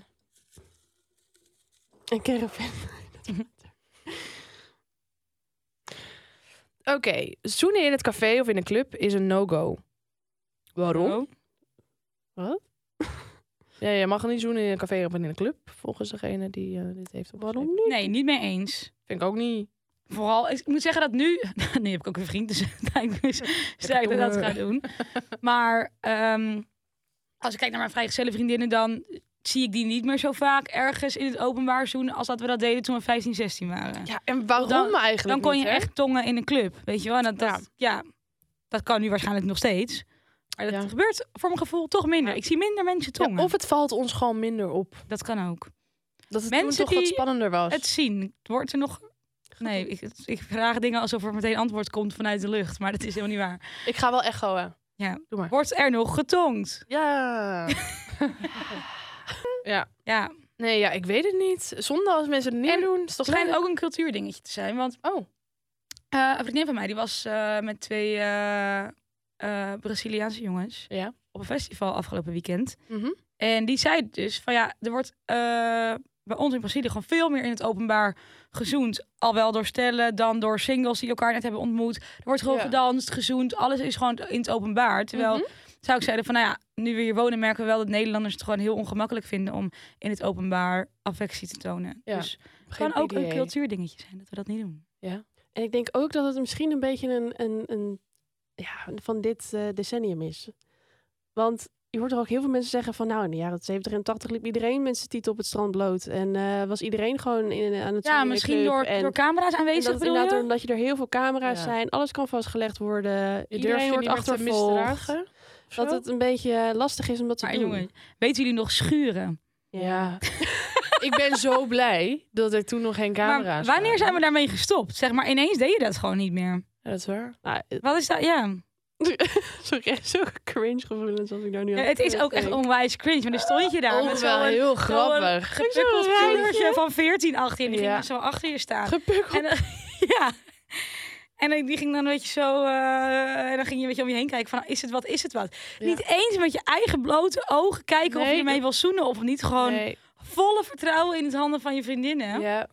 Speaker 2: Een caravan.
Speaker 3: Oké, zoenen in het café of in een club is een no-go. Waarom?
Speaker 1: Oh.
Speaker 3: Ja, je mag niet zoenen in een café of in een club, volgens degene die eh, dit heeft opgeschreven.
Speaker 2: Waarom niet?
Speaker 1: Nee, niet mee eens.
Speaker 3: Vind ik ook niet.
Speaker 1: Vooral, ik moet zeggen dat nu... Nu heb ik ook een vriend, dus uiteindelijk zou ik dat
Speaker 3: Domme.
Speaker 1: altijd gaan doen. Maar ehm, als ik kijk naar mijn vrijgezelle vriendinnen, dan zie ik die niet meer zo vaak ergens in het openbaar zoenen als dat we dat deden toen we 15, 16 waren.
Speaker 3: Ja, en waarom
Speaker 1: Dan-
Speaker 3: eigenlijk
Speaker 1: dan kon
Speaker 3: niet,
Speaker 1: je
Speaker 3: hè?
Speaker 1: echt tongen in een club, weet je wel. En dat, dat, ja. dat kan nu waarschijnlijk nog steeds. Maar dat
Speaker 3: Ja.
Speaker 1: gebeurt voor mijn gevoel toch minder. Ik zie minder mensen
Speaker 3: Ja,
Speaker 1: tongen.
Speaker 3: of het valt ons gewoon minder op.
Speaker 1: Dat kan ook.
Speaker 3: Dat het
Speaker 1: Mensen
Speaker 3: toen toch wat
Speaker 1: die
Speaker 3: spannender was.
Speaker 1: Het zien. Het wordt er nog... Nee, ik, ik vraag dingen alsof er meteen antwoord komt vanuit de lucht. Maar dat is helemaal niet waar.
Speaker 3: Ik ga wel echoen.
Speaker 1: Wordt er nog getongd?
Speaker 3: Ja. ja.
Speaker 1: Ja,
Speaker 3: Nee, ja, ik weet het niet. Zonde als mensen het niet
Speaker 1: En
Speaker 3: meer doen. Is
Speaker 1: dat
Speaker 3: toch
Speaker 1: schijnt
Speaker 3: lelijk?
Speaker 1: ook een cultuurdingetje te zijn. Want
Speaker 3: Oh,
Speaker 1: eh, een vriendin van mij die was eh, met twee eh, eh, Braziliaanse jongens
Speaker 3: ja.
Speaker 1: op een festival afgelopen weekend.
Speaker 3: Mhm.
Speaker 1: En die zei dus van ja, er wordt eh, bij ons in Brazilië gewoon veel meer in het openbaar gezoend. Al wel door stellen dan door singles die elkaar net hebben ontmoet. Er wordt gewoon
Speaker 3: Ja.
Speaker 1: gedanst, gezoend. Alles is gewoon in het openbaar. Terwijl
Speaker 3: Mhm.
Speaker 1: zou ik zeggen van nou ja, nu we hier wonen merken we wel dat Nederlanders het gewoon heel ongemakkelijk vinden om in het openbaar affectie te tonen.
Speaker 3: Ja.
Speaker 1: Dus het
Speaker 3: Geen
Speaker 1: kan ook een
Speaker 3: PDA.
Speaker 1: cultuurdingetje zijn dat we dat niet doen.
Speaker 2: En ik denk ook dat het misschien een beetje een, een, een ja, van dit eh, decennium is. Want je hoort er ook heel veel mensen zeggen van... nou, in de jaren 70 en 80 liep iedereen met zijn titel op het strand bloot. En eh, was iedereen gewoon in, aan het
Speaker 1: Ja,
Speaker 2: zoenen
Speaker 1: misschien
Speaker 2: club.
Speaker 1: door,
Speaker 2: en,
Speaker 1: door camera's
Speaker 2: en
Speaker 1: aanwezig
Speaker 2: dat het
Speaker 1: bedoel
Speaker 2: inderdaad
Speaker 1: je?
Speaker 2: door- omdat je er heel veel camera's
Speaker 3: Ja.
Speaker 2: zijn. Alles kan vastgelegd worden.
Speaker 3: Je durft
Speaker 2: iedereen
Speaker 3: je
Speaker 2: wordt
Speaker 3: niet meer te
Speaker 2: achtervolgd.
Speaker 3: misdragen of zo?
Speaker 2: Dat het een beetje eh, lastig is om dat te
Speaker 1: Maar
Speaker 2: doen.
Speaker 1: jongen, weten jullie nog schuren?
Speaker 3: Ja. ik ben zo blij dat er toen nog geen
Speaker 1: maar
Speaker 3: camera's
Speaker 1: wanneer
Speaker 3: waren.
Speaker 1: zijn we daarmee gestopt? Zeg maar, ineens deed je dat gewoon niet meer.
Speaker 3: Ja, dat is waar.
Speaker 2: Nou, eh,
Speaker 1: Wat is dat? Ja.
Speaker 2: sorry, zulke cringe gevoelens als ik daar nu
Speaker 1: Ja,
Speaker 2: aan
Speaker 1: het is ook echt
Speaker 2: terugdenk.
Speaker 1: onwijs cringe. Maar dan stond je daar
Speaker 3: Oh,
Speaker 1: met
Speaker 3: wel
Speaker 1: zo'n
Speaker 3: heel
Speaker 1: zo'n
Speaker 3: grappig.
Speaker 1: gepukkeld
Speaker 2: Zo'n rijtje.
Speaker 1: pubertje van 14 achter je. Die
Speaker 3: Ja.
Speaker 1: ging dan zo achter je staan.
Speaker 3: Gepukkeld.
Speaker 1: En dan- ja. En ik- die ging dan een beetje zo... eh, en dan ging je een beetje om je heen kijken van... Is het wat, is het wat?
Speaker 3: Ja.
Speaker 1: Niet eens met je eigen blote ogen kijken of
Speaker 3: Nee,
Speaker 1: je ermee wil zoenen of niet. Gewoon
Speaker 3: Nee.
Speaker 1: volle vertrouwen in het handen van je vriendinnen.
Speaker 3: Ja.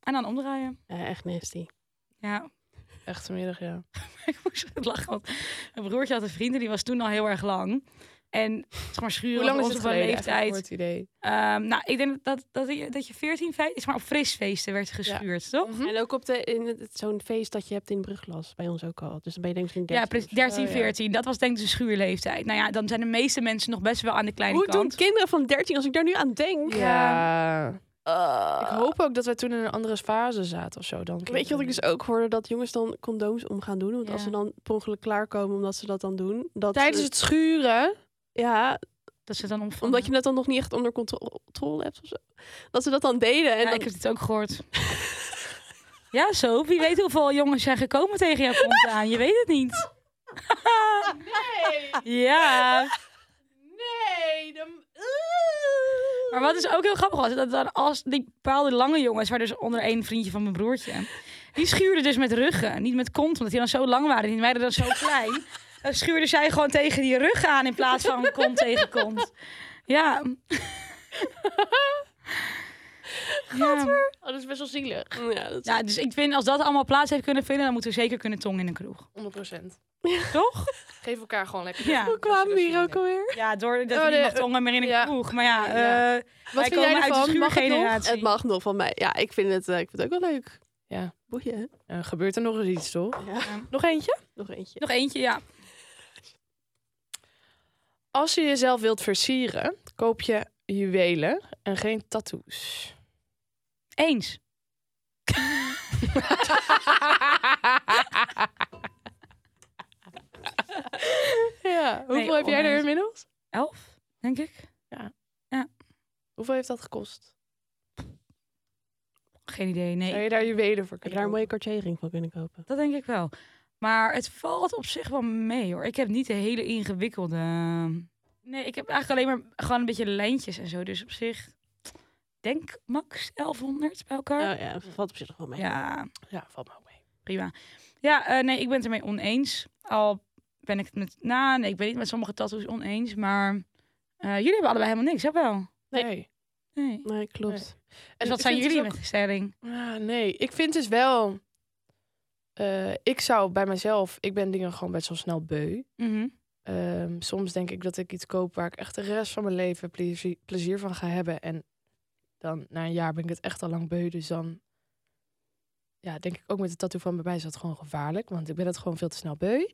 Speaker 1: En dan omdraaien.
Speaker 2: Ja, echt nasty.
Speaker 1: Ja,
Speaker 3: Echt vanmiddag, ja.
Speaker 1: ik moest het lachen. Want mijn broertje had een vriend en die was toen al heel erg lang. En zeg maar schuren
Speaker 3: Hoe lang
Speaker 1: op
Speaker 3: is
Speaker 1: onze
Speaker 3: het geleden? eigenlijk,
Speaker 1: leeftijd.
Speaker 3: voor het idee.
Speaker 1: Ehm, nou, ik denk dat, dat, je- dat je 14, 15... Is maar op frisfeesten werd geschuurd, toch?
Speaker 3: Mhm.
Speaker 2: En ook op de, in het- zo'n feest dat je hebt in Brugglas, bij ons ook al. Dus dan ben je denk ik misschien
Speaker 1: Ja,
Speaker 2: 13
Speaker 1: precies. 13,
Speaker 3: Oh, ja.
Speaker 1: 14. Dat was denk ik de schuurleeftijd. Nou ja, dan zijn de meeste mensen nog best wel aan de kleine
Speaker 2: Hoe doen
Speaker 1: kant.
Speaker 2: kinderen van 13 als ik daar nu aan denk?
Speaker 3: Ja. Ik hoop ook dat wij toen in een andere fase zaten of zo. Dan
Speaker 2: Weet je wat ik dus ook hoorde? Dat jongens dan condooms om gaan doen. Want als
Speaker 1: Ja.
Speaker 2: ze dan per ongeluk klaarkomen omdat ze dat dan doen. Dat
Speaker 3: Tijdens
Speaker 2: ze-
Speaker 3: het schuren.
Speaker 2: Ja,
Speaker 1: Dat ze dan omvallen.
Speaker 2: omdat je dat dan nog niet echt onder contro- controle hebt of zo. Dat ze dat dan deden. En
Speaker 1: Ja,
Speaker 2: dan...
Speaker 1: ik heb dit ook gehoord. ja, zo. Wie weet hoeveel jongens zijn gekomen tegen jouw kont aan. Je weet het niet. Ja.
Speaker 3: Nee. Dan...
Speaker 1: Maar wat is ook heel grappig was, dat dan als die bepaalde lange jongens, waar dus onder één vriendje van mijn broertje, die schuurden dus met ruggen, niet met kont, omdat die dan zo lang waren en die meiden dan zo klein. Dan schuurden zij gewoon tegen die rug aan in plaats van kont tegen kont. Ja. ja.
Speaker 3: Oh, dat is best wel zielig.
Speaker 2: Ja, dat...
Speaker 1: ja, dus ik vind als dat allemaal plaats heeft kunnen vinden, dan moeten we zeker kunnen tong in een kroeg.
Speaker 3: 100%.
Speaker 1: Toch?
Speaker 3: Geef elkaar gewoon lekker.
Speaker 1: Ja.
Speaker 2: Hoe kwamen we hier ook alweer?
Speaker 1: Ja, door dat
Speaker 3: Oh,
Speaker 1: we
Speaker 3: de-
Speaker 1: niet mag tongen meer in een
Speaker 3: ja.
Speaker 1: kroeg. Maar ja,
Speaker 3: Ja.
Speaker 1: eh,
Speaker 3: Wat
Speaker 1: wij
Speaker 3: vind jij
Speaker 1: komen uit de
Speaker 3: ervan? Mag het nog?
Speaker 1: schuurgeneratie.
Speaker 2: Het mag nog van mij. Ja, ik vind het, eh, ik vind het ook wel leuk.
Speaker 3: Ja.
Speaker 2: Boeien. hè?
Speaker 3: Eh, gebeurt er nog eens iets, toch?
Speaker 2: Ja.
Speaker 3: Nog eentje?
Speaker 2: Nog eentje.
Speaker 1: Nog eentje, ja.
Speaker 3: Als je jezelf wilt versieren, koop je juwelen en geen tattoos.
Speaker 1: Eens.
Speaker 3: ja. Hoeveel heb jij er
Speaker 1: oneens.
Speaker 3: inmiddels?
Speaker 1: Elf, denk ik.
Speaker 3: Hoeveel heeft dat gekost?
Speaker 1: Geen idee,
Speaker 3: Zou
Speaker 1: nee.
Speaker 3: je daar juwelen voor
Speaker 2: Ik
Speaker 3: kunnen
Speaker 2: heb daar een
Speaker 3: kopen?
Speaker 2: mooie cartier van kunnen kopen.
Speaker 1: Dat denk ik wel. Maar het valt op zich wel mee hoor. Ik heb niet de hele ingewikkelde ehm, Nee, ik heb eigenlijk alleen maar gewoon een beetje lijntjes en zo. Dus op zich, denk max 1100 bij elkaar.
Speaker 2: Oh ja, valt op zich nog wel mee.
Speaker 1: ja,
Speaker 3: Ja, valt me ook mee.
Speaker 1: prima. Ja, eh, nee, ik ben het ermee oneens. Al ben ik het met, nou nee, ik ben niet met sommige tattoos oneens. Maar eh, jullie hebben allebei helemaal niks, hè wel?
Speaker 2: Nee.
Speaker 1: Nee.
Speaker 2: Nee, klopt.
Speaker 1: Dus wat
Speaker 3: ik
Speaker 1: zijn
Speaker 3: vind
Speaker 1: jullie
Speaker 3: dus ook-
Speaker 1: met de stelling?
Speaker 3: Ah, nee, ik vind dus wel... eh, ik zou bij mezelf... Ik ben dingen gewoon best wel snel beu.
Speaker 1: Mhm.
Speaker 3: Ehm, soms denk ik dat ik iets koop waar ik echt de rest van mijn leven plezier, plezier van ga hebben. En dan na een jaar ben ik het echt al lang beu. Dus dan ja, denk ik ook met de tattoo van bij mij is dat gewoon gevaarlijk. Want ik ben het gewoon veel te snel beu.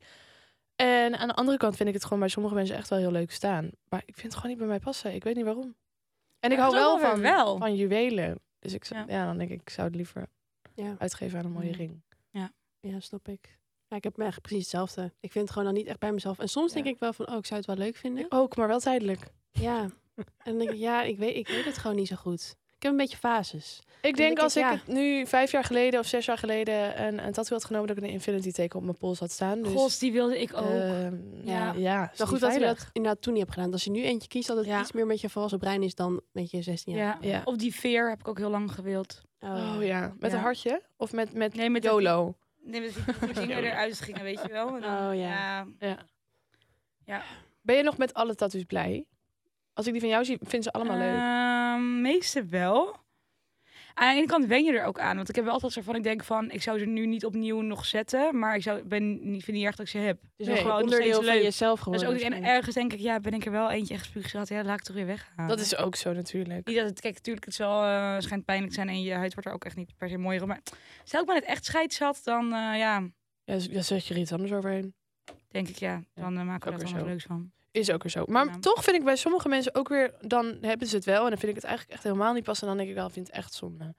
Speaker 3: En aan de andere kant vind ik het gewoon bij sommige mensen echt wel heel leuk staan. Maar ik vind het gewoon niet bij mij passen. Ik weet niet waarom. En ik
Speaker 1: Ja,
Speaker 3: hou
Speaker 1: dat is
Speaker 3: wel
Speaker 1: ook wel
Speaker 3: van,
Speaker 1: weer wel.
Speaker 3: van juwelen. Dus ik, zou-
Speaker 1: Ja.
Speaker 3: ja. dan denk ik, ik zou het liever
Speaker 2: Ja.
Speaker 3: uitgeven aan een mooie
Speaker 1: Mm.
Speaker 3: ring.
Speaker 2: Ja, snap ik. Ja, ik heb me echt precies hetzelfde. Ik vind het gewoon dan niet echt bij mezelf. En soms
Speaker 3: Ja.
Speaker 2: denk ik wel van, oh, ik zou het wel leuk vinden.
Speaker 3: Ik ook, maar wel tijdelijk.
Speaker 2: Ja. En dan denk ik, ja, ik weet, ik weet het gewoon niet zo goed. Ik heb een beetje fases.
Speaker 3: Ik
Speaker 2: denk
Speaker 3: denk
Speaker 2: ik,
Speaker 3: als ik
Speaker 2: ja.
Speaker 3: het nu vijf jaar geleden of zes jaar geleden een, een tattoo had genomen, dat ik een infinity teken op mijn pols had staan. Dus,
Speaker 1: Gos, die wilde ik ook.
Speaker 3: ehm,
Speaker 1: Ja.
Speaker 3: ja, ja, is
Speaker 2: Wel
Speaker 3: niet
Speaker 2: goed dat je
Speaker 3: veilig.
Speaker 2: dat inderdaad toen niet hebt gedaan. Als je nu eentje kiest, dat het
Speaker 3: Ja.
Speaker 2: iets meer met je volwassen brein is dan met je 16
Speaker 1: ja.
Speaker 2: jaar.
Speaker 3: Ja.
Speaker 1: Op die veer heb ik ook heel lang gewild.
Speaker 3: Oh ja, met
Speaker 1: Ja.
Speaker 3: een hartje of met, met
Speaker 1: Nee, met dat die-
Speaker 3: YOLO.
Speaker 1: Nee, met die- die dingen eruit dus gingen, weet je wel. En dan-
Speaker 2: Oh, ja.
Speaker 3: Ja.
Speaker 1: Ja.
Speaker 3: Ben je nog met alle tattoos blij? Als ik die van jou zie, vind ze
Speaker 1: Eh,
Speaker 3: allemaal leuk.
Speaker 1: Ehm, meeste wel. Aan de ene kant wen je er ook aan. Want ik heb wel altijd zo van, ik denk van, ik zou ze nu niet opnieuw nog zetten. Maar ik zou, ben, niet- vind niet erg dat ik ze heb.
Speaker 2: Het is
Speaker 3: Nee,
Speaker 2: ook gewoon
Speaker 1: nog steeds
Speaker 2: onderdeel van
Speaker 1: leuk.
Speaker 2: jezelf
Speaker 1: Dat is
Speaker 2: geworden.
Speaker 1: ook,
Speaker 3: dus
Speaker 1: en
Speaker 2: waarschijnlijk.
Speaker 1: ergens denk ik, ja, ben ik er wel eentje echt spuug gehad. Ja, dat laat ik toch weer weghalen.
Speaker 3: Dat is ook zo natuurlijk.
Speaker 1: Niet dat het, kijk, natuurlijk, het zal, eh, schijnt pijnlijk zijn en je huid wordt er ook echt niet per se mooier op. Maar stel ik ben het echt scheids had, dan eh, ja,
Speaker 3: Ja, z- daar zet je er iets anders overheen.
Speaker 1: denk ik ja, dan eh, maken we
Speaker 3: ook
Speaker 1: er
Speaker 3: weer
Speaker 1: wat
Speaker 3: zo.
Speaker 1: leuks van.
Speaker 3: Is ook weer zo. Maar
Speaker 1: Ja.
Speaker 3: toch vind ik bij sommige mensen ook weer, dan hebben ze het wel. En dan vind ik het eigenlijk echt helemaal niet passen. En dan denk ik wel, ik vind het echt zonde.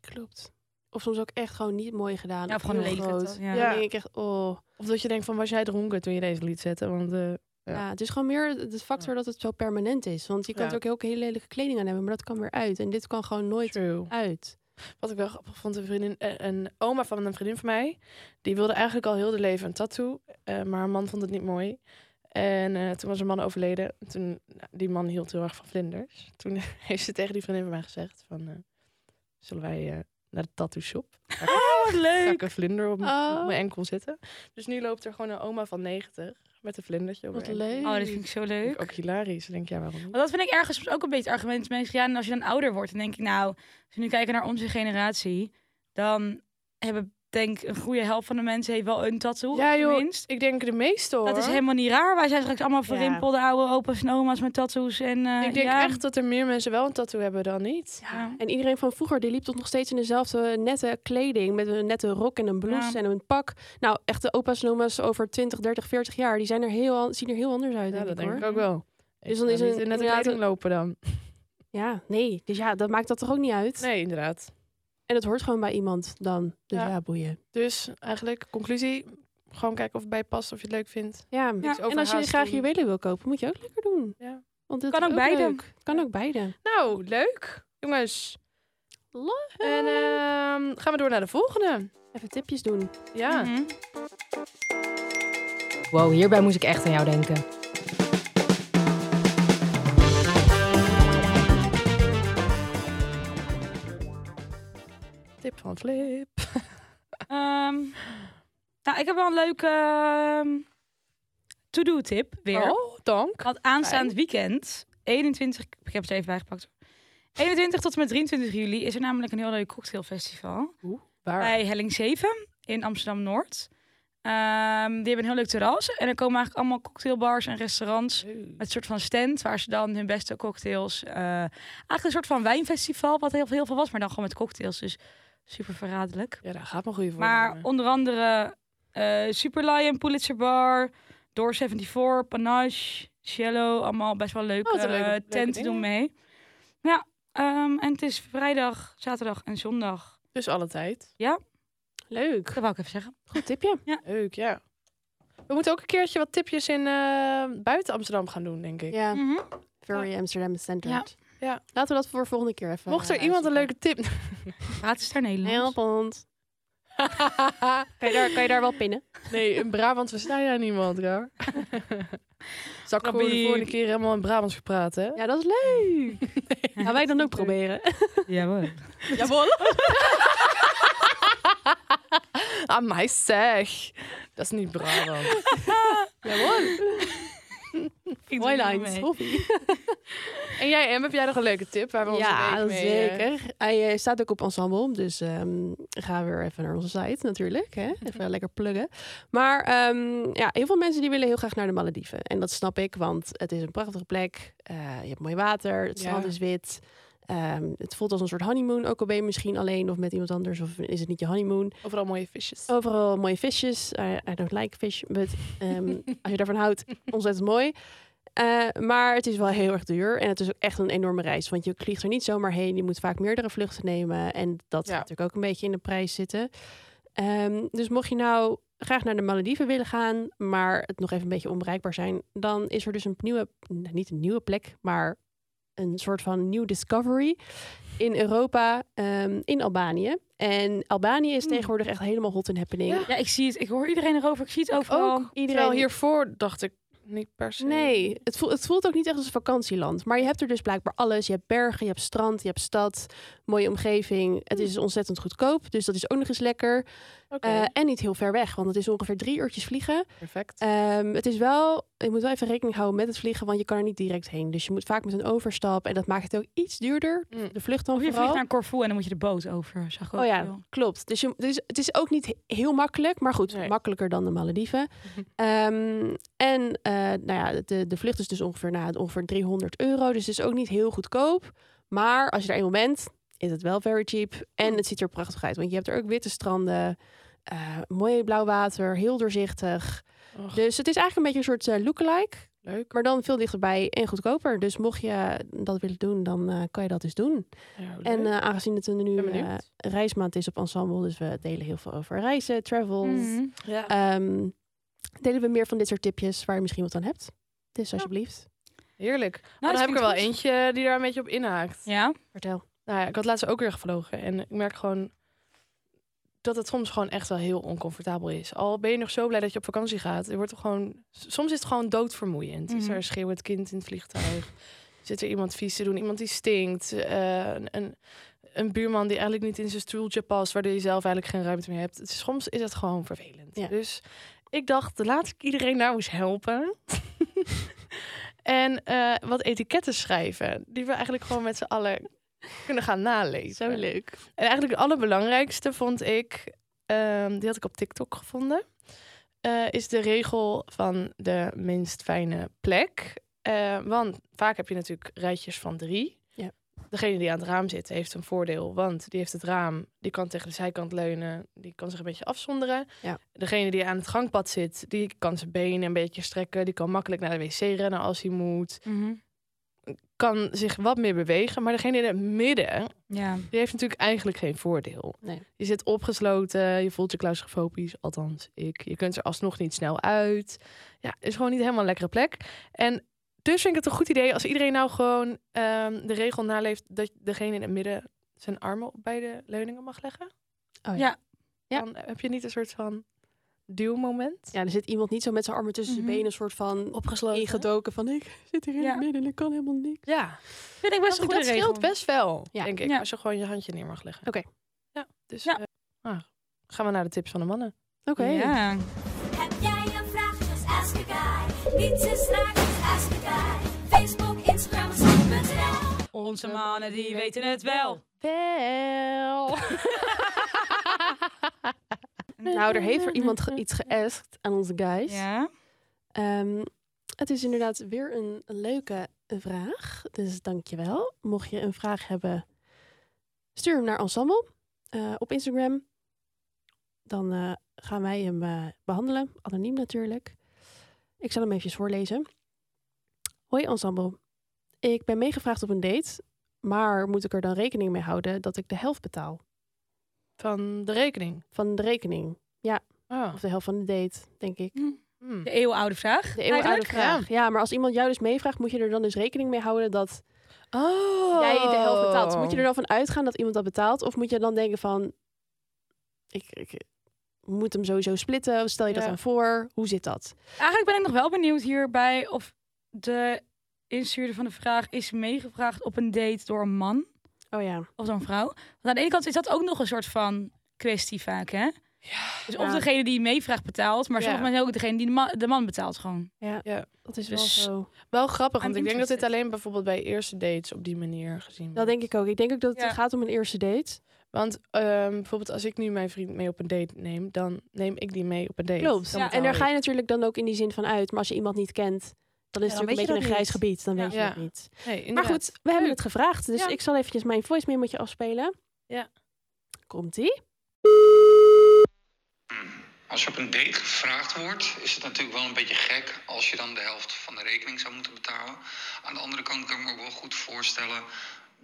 Speaker 2: Klopt. Of soms ook echt gewoon niet mooi gedaan.
Speaker 1: Ja, of gewoon
Speaker 2: heel
Speaker 1: lelijk.
Speaker 2: groot.
Speaker 1: Ja.
Speaker 2: Dan denk ik echt, oh.
Speaker 3: Of dat je denkt van, was jij dronken toen je deze liet zetten? Want eh,
Speaker 2: Ja.
Speaker 3: Ja.
Speaker 2: het is gewoon meer de factor dat het zo permanent is. Want je kan
Speaker 3: Ja.
Speaker 2: er ook heel, heel lelijke kleding aan hebben, maar dat kan weer uit. En dit kan gewoon nooit
Speaker 3: true.
Speaker 2: uit.
Speaker 3: Wat ik wel grappig vond, een, vriendin, eh, een oma van een vriendin van mij... die wilde eigenlijk al heel de leven een tattoo. eh, maar haar man vond het niet mooi. En eh, toen was haar man overleden. Toen, nou, die man hield heel erg van vlinders. Toen heeft ze tegen die vriendin van mij gezegd van... eh, zullen wij eh, naar de tattoo shop?
Speaker 1: Oh, wat
Speaker 3: Ga
Speaker 1: leuk!
Speaker 3: ik een vlinder op, m-
Speaker 2: Oh.
Speaker 3: op mijn enkel zitten? Dus nu loopt er gewoon een oma van 90 met een vlindertje op
Speaker 2: Wat
Speaker 3: haar enkel.
Speaker 2: leuk.
Speaker 1: Oh, dat vind ik zo
Speaker 3: Vind
Speaker 1: leuk.
Speaker 3: ik Ook hilarisch. Ik denk, ja, waarom niet?
Speaker 1: Want dat vind ik ergens soms ook een beetje het argument. dat Mensen, zeggen, ja, en als je dan ouder wordt, dan denk ik, nou, als we nu kijken naar onze generatie, dan hebben, denk ik, een goede helft van de mensen heeft wel een tattoo.
Speaker 3: Ja, joh.
Speaker 1: tenminste.
Speaker 3: Ik denk de meeste hoor.
Speaker 1: Dat is helemaal niet raar. Wij zijn straks allemaal verrimpelde oude opa's en oma's met tattoos. En, eh,
Speaker 3: Ik denk
Speaker 1: ja.
Speaker 3: echt dat er meer mensen wel een tattoo hebben dan niet.
Speaker 1: Ja.
Speaker 2: En iedereen van vroeger die liep toch nog steeds in dezelfde nette kleding. Met een nette rok en een blouse
Speaker 1: Ja.
Speaker 2: en een pak. Nou, echt de opa's en oma's over 20, 30, 40 jaar. Die zijn er heel, an- zien er heel anders uit.
Speaker 3: Ja,
Speaker 2: denk
Speaker 3: dat
Speaker 2: ik,
Speaker 3: denk
Speaker 2: hoor.
Speaker 3: ik ook wel.
Speaker 2: Dus
Speaker 3: Dus
Speaker 2: dan
Speaker 3: dan
Speaker 2: is
Speaker 3: is
Speaker 2: een-
Speaker 3: het in net een
Speaker 2: inderdaad
Speaker 3: kleding lopen dan.
Speaker 2: Ja, nee. Dus ja, dat maakt dat toch ook niet uit.
Speaker 3: Nee, inderdaad.
Speaker 2: En dat hoort gewoon bij iemand dan. Dus ja,
Speaker 3: Ja.
Speaker 2: boeien.
Speaker 3: Dus eigenlijk, conclusie, gewoon kijken of het bij je past, of je het leuk vindt. Dus
Speaker 2: Ja. En als je
Speaker 3: overhaast
Speaker 2: graag
Speaker 3: doen.
Speaker 2: juwelen wil kopen, moet je ook lekker doen.
Speaker 3: Ja.
Speaker 2: Want dat
Speaker 1: Kan
Speaker 2: is
Speaker 1: ook beide.
Speaker 2: leuk. Kan ook beide.
Speaker 3: Nou, leuk. Jongens.
Speaker 2: Leuk.
Speaker 3: En ehm, gaan we door naar de volgende.
Speaker 2: Even tipjes doen.
Speaker 3: Ja.
Speaker 1: Mhm.
Speaker 5: Wow, hierbij moest ik echt aan jou denken.
Speaker 3: Tip van Flip.
Speaker 1: Ehm, nou, ik heb wel een leuke ehm, to-do-tip weer.
Speaker 3: Oh, dank.
Speaker 1: Want aanstaand weekend, 21, ik heb het er even bijgepakt. 21 tot en met 23 juli is er namelijk een heel leuk cocktailfestival
Speaker 3: Waar?
Speaker 1: bij Helling 7 in Amsterdam Noord. Ehm, die hebben een heel leuk terras en er komen eigenlijk allemaal cocktailbars en restaurants
Speaker 3: Leuk.
Speaker 1: met een soort van stand waar ze dan hun beste cocktails. eh, eigenlijk een soort van wijnfestival, wat heel, heel veel was, maar dan gewoon met cocktails. Dus super verraderlijk.
Speaker 3: Ja, daar gaat maar goede voor.
Speaker 1: Maar onder andere eh, Super Lion, Pulitzer Bar, Door 74, Panache, Cello. Allemaal best wel leuke,
Speaker 3: Oh, wat een leuke-
Speaker 1: eh,
Speaker 3: leuke
Speaker 1: tenten
Speaker 3: dingen.
Speaker 1: doen mee. Ja, ehm, en het is vrijdag, zaterdag en zondag.
Speaker 3: Dus alle tijd.
Speaker 2: Leuk.
Speaker 1: Dat wou ik even zeggen.
Speaker 2: Goed tipje.
Speaker 3: Leuk, ja. We moeten ook een keertje wat tipjes in eh, buiten Amsterdam gaan doen, denk ik.
Speaker 2: Ja.
Speaker 1: Mhm.
Speaker 2: Very Amsterdam Standard.
Speaker 3: Ja. Ja.
Speaker 2: Laten we dat voor volgende keer even.
Speaker 3: Mocht
Speaker 2: eh,
Speaker 3: er iemand een
Speaker 2: uitzoeken.
Speaker 3: leuke tip...
Speaker 1: Gratis naar Nederland.
Speaker 2: Helpend. Kan je daar, kan je daar wel pinnen?
Speaker 3: nee, in Brabant versta jij niemand, hoor. Zal ik gewoon de
Speaker 1: Grappie.
Speaker 3: volgende keer helemaal in Brabants gepraat, hè?
Speaker 2: Ja, dat is leuk. Gaan wij dan ook proberen.
Speaker 1: Jawel.
Speaker 3: Jawel.
Speaker 2: Ah,
Speaker 3: Aan mij zeg. Dat is niet Brabant.
Speaker 2: Jawel.
Speaker 1: Ik doe
Speaker 2: Mooi
Speaker 1: niet
Speaker 2: lines.
Speaker 1: mee.
Speaker 2: Hoppie.
Speaker 3: En jij, Em, heb jij nog een leuke tip waar we ons
Speaker 2: Ja,
Speaker 3: een week mee... eh,
Speaker 2: zeker. Hij eh, staat ook op Ensemble, dus ehm, ga weer even naar onze site natuurlijk. Hè?
Speaker 3: Mhm.
Speaker 2: Even lekker pluggen. Maar ehm, ja, heel veel mensen die willen heel graag naar de Malediven. En dat snap ik, want het is een prachtige plek. Eh, je hebt mooi water, het
Speaker 3: Ja.
Speaker 2: strand is wit. Ehm, het voelt als een soort honeymoon, ook al ben je misschien alleen of met iemand anders, of is het niet je honeymoon.
Speaker 3: Overal mooie visjes.
Speaker 2: Overal mooie visjes. I, I don't like fish, but ehm, als je daarvan houdt, ontzettend mooi. Eh, maar het is wel heel erg duur en het is ook echt een enorme reis. Want je vliegt er niet zomaar heen. Je moet vaak meerdere vluchten nemen. En dat
Speaker 3: Ja.
Speaker 2: gaat natuurlijk ook een beetje in de prijs zitten. Ehm, dus mocht je nou graag naar de Malediven willen gaan, maar het nog even een beetje onbereikbaar zijn, dan is er dus een nieuwe, nou, niet een nieuwe plek, maar een soort van nieuw discovery in Europa, ehm, in Albanië. En Albanië is tegenwoordig echt helemaal hot in happening.
Speaker 3: Ja.
Speaker 1: Ja, ik zie het. Ik hoor iedereen erover. Ik zie het overal.
Speaker 3: Ook. Terwijl
Speaker 2: Iedereen
Speaker 3: hiervoor dacht ik niet per se.
Speaker 2: Nee, het voelt, het voelt ook niet echt als een vakantieland. Maar je hebt er dus blijkbaar alles. Je hebt bergen, je hebt strand, je hebt stad, mooie omgeving. Het
Speaker 1: Hmm.
Speaker 2: is ontzettend goedkoop, dus dat is ook nog eens lekker.
Speaker 3: Oké,
Speaker 2: Eh, en niet heel ver weg, want het is ongeveer drie uurtjes vliegen.
Speaker 3: perfect.
Speaker 2: Ehm, het is wel, je moet wel even rekening houden met het vliegen, want je kan er niet direct heen. Dus je moet vaak met een overstap en dat maakt het ook iets duurder.
Speaker 3: Mm.
Speaker 2: De vlucht dan
Speaker 1: Of je
Speaker 2: vooral.
Speaker 1: vliegt naar Corfu en dan moet je de boot over. Zag ik ook
Speaker 2: Oh ja,
Speaker 1: veel.
Speaker 2: klopt. Dus, je, dus het is ook niet he- heel makkelijk, maar goed,
Speaker 3: Nee.
Speaker 2: makkelijker dan de Malediven. Ehm, en eh, nou ja, de, de vlucht is dus ongeveer, nou, ongeveer 300 euro, dus het is ook niet heel goedkoop. Maar als je daar eenmaal bent, is het wel very cheap. En
Speaker 3: Hm.
Speaker 2: het ziet er prachtig uit, want je hebt er ook witte stranden, eh, mooi blauw water, heel doorzichtig.
Speaker 3: Och.
Speaker 2: Dus het is eigenlijk een beetje een soort eh, lookalike,
Speaker 3: Leuk.
Speaker 2: maar dan veel dichterbij en goedkoper. Dus mocht je dat willen doen, dan eh, kan je dat dus doen.
Speaker 3: Ja, leuk.
Speaker 2: En eh, aangezien het nu
Speaker 3: ben
Speaker 2: eh,
Speaker 3: benieuwd.
Speaker 2: reismaand is op Ensemble, dus we delen heel veel over reizen, travels.
Speaker 1: Mhm.
Speaker 3: ja.
Speaker 2: Ehm, delen we meer van dit soort tipjes waar je misschien wat aan hebt. Dus alsjeblieft,
Speaker 3: Heerlijk.
Speaker 1: Nou,
Speaker 3: dan
Speaker 1: dat
Speaker 3: heb ik er wel
Speaker 1: klinkt goed.
Speaker 3: eentje die daar een beetje op inhaakt.
Speaker 1: Ja,
Speaker 2: vertel.
Speaker 3: Nou ja, ik had laatst ook weer gevlogen. En ik merk gewoon dat het soms gewoon echt wel heel oncomfortabel is. Al ben je nog zo blij dat je op vakantie gaat. Je wordt er gewoon, soms is het gewoon doodvermoeiend. Is
Speaker 1: Mhm.
Speaker 3: er een schreeuwend kind in het vliegtuig? Zit er iemand vies te doen? Iemand die stinkt? Eh, een, een, een buurman die eigenlijk niet in zijn stoeltje past... waardoor je zelf eigenlijk geen ruimte meer hebt. Het is- soms is het gewoon vervelend.
Speaker 2: Ja.
Speaker 3: Dus ik dacht, laat ik iedereen nou eens helpen. en eh, wat etiketten schrijven. Die we eigenlijk gewoon met z'n allen kunnen gaan nalezen.
Speaker 2: Zo leuk.
Speaker 3: En eigenlijk het allerbelangrijkste vond ik, ehm, die had ik op TikTok gevonden, eh, is de regel van de minst fijne plek. Eh, want vaak heb je natuurlijk rijtjes van drie.
Speaker 2: Ja.
Speaker 3: Degene die aan het raam zit heeft een voordeel, want die heeft het raam, die kan tegen de zijkant leunen, die kan zich een beetje afzonderen.
Speaker 2: Ja.
Speaker 3: Degene die aan het gangpad zit, die kan zijn benen een beetje strekken, die kan makkelijk naar de wc rennen als hij moet,
Speaker 1: Mhm.
Speaker 3: kan zich wat meer bewegen. Maar degene in het midden,
Speaker 1: ja.
Speaker 3: die heeft natuurlijk eigenlijk geen voordeel.
Speaker 2: Nee.
Speaker 3: Je zit opgesloten, je voelt je claustrofobisch, althans ik. Je kunt er alsnog niet snel uit. Ja, is gewoon niet helemaal een lekkere plek. En dus vind ik het een goed idee als iedereen nou gewoon ehm, de regel naleeft dat degene in het midden zijn armen op beide leuningen mag leggen.
Speaker 2: Oh, ja. ja.
Speaker 1: Ja.
Speaker 2: Ja.
Speaker 3: Dan heb je niet een soort van duwmoment.
Speaker 2: er zit iemand niet zo met zijn armen tussen
Speaker 1: Mhm.
Speaker 2: zijn benen, een soort van
Speaker 3: Opgesloten.
Speaker 2: ingedoken van ik zit hier in
Speaker 1: Ja.
Speaker 2: het midden en ik kan helemaal niks.
Speaker 3: Ja,
Speaker 1: Vind ik best
Speaker 3: dat,
Speaker 1: een goede
Speaker 3: dat
Speaker 1: regel.
Speaker 3: scheelt best wel,
Speaker 2: Ja.
Speaker 3: denk ik.
Speaker 1: Ja.
Speaker 3: Als je gewoon je handje neer mag leggen.
Speaker 2: Oké.
Speaker 3: Ja, dus
Speaker 1: Ja.
Speaker 3: eh, ah, gaan we naar de tips van de mannen.
Speaker 2: Oké.
Speaker 1: Ja.
Speaker 6: Heb jij een vraag? Just ask a guy. Niets is raar, just ask a guy. Facebook, Instagram, Snap.nl.
Speaker 1: Onze mannen die weten het wel.
Speaker 3: Wel.
Speaker 2: Nou, er heeft er iemand ge- iets geëskt aan onze guys.
Speaker 1: Ja.
Speaker 2: Ehm, het is inderdaad weer een leuke vraag. Dus dankjewel. Mocht je een vraag hebben, stuur hem naar Ensemble eh, op Instagram. Dan eh, gaan wij hem eh, behandelen. Anoniem natuurlijk. Ik zal hem even voorlezen. Hoi Ensemble. Ik ben meegevraagd op een date, maar moet ik er dan rekening mee houden dat ik de helft betaal?
Speaker 3: Van de rekening.
Speaker 2: Van de rekening.
Speaker 3: Oh.
Speaker 2: Of de helft van de date, denk ik.
Speaker 3: Hmm.
Speaker 1: De eeuwenoude vraag.
Speaker 2: De eeuwenoude
Speaker 1: Eigenlijk, Ah, ja.
Speaker 2: vraag. Ja, maar als iemand jou dus meevraagt, moet je er dan dus rekening mee houden dat
Speaker 3: Oh.
Speaker 2: jij de helft betaalt. Dus moet je er dan van uitgaan dat iemand dat betaalt? Of moet je dan denken van... Ik, ik, moet hem sowieso splitten? Of Stel je dat
Speaker 1: Ja.
Speaker 2: dan voor? Hoe zit dat?
Speaker 1: Eigenlijk ben ik nog wel benieuwd hierbij of de instuurder van de vraag is meegevraagd op een date door een man
Speaker 2: Oh ja.
Speaker 1: of door een vrouw. Want aan de ene kant is dat ook nog een soort van kwestie vaak, hè? Dus of
Speaker 2: Ja.
Speaker 1: degene die meevraagt betaalt, maar
Speaker 3: Ja.
Speaker 1: sommige mensen ook degene die de, ma- de man betaalt gewoon.
Speaker 2: Dat is
Speaker 3: Dus-
Speaker 2: wel zo.
Speaker 3: Wel grappig, want
Speaker 1: I'm
Speaker 3: ik denk dat dit
Speaker 1: interested.
Speaker 3: alleen bijvoorbeeld bij eerste dates op die manier gezien
Speaker 2: Dat
Speaker 3: wordt.
Speaker 2: denk ik ook. Ik denk ook dat het
Speaker 1: Ja.
Speaker 2: gaat om een eerste date.
Speaker 3: Want ehm, bijvoorbeeld als ik nu mijn vriend mee op een date neem, dan neem ik die mee op een date.
Speaker 2: Klopt.
Speaker 3: Dan
Speaker 1: Ja,
Speaker 2: En daar
Speaker 3: betaal
Speaker 2: ga je natuurlijk dan ook in die zin van uit. Maar als je iemand niet kent, dan is
Speaker 3: Ja,
Speaker 2: het
Speaker 3: dan
Speaker 2: natuurlijk
Speaker 3: weet je
Speaker 2: een beetje een
Speaker 3: dat
Speaker 2: grijs
Speaker 3: niet.
Speaker 2: gebied. Dan
Speaker 3: Ja.
Speaker 2: weet je
Speaker 3: Ja.
Speaker 2: het niet.
Speaker 3: ik. Nee,
Speaker 2: Maar
Speaker 3: inderdaad.
Speaker 2: goed, we hebben
Speaker 3: Leuk.
Speaker 2: het gevraagd. Dus
Speaker 3: Ja.
Speaker 2: ik zal eventjes mijn voicemail met je afspelen.
Speaker 3: Ja.
Speaker 2: Komt-ie?
Speaker 7: Als je op een date gevraagd wordt, is het natuurlijk wel een beetje gek als je dan de helft van de rekening zou moeten betalen. Aan de andere kant kan ik me ook wel goed voorstellen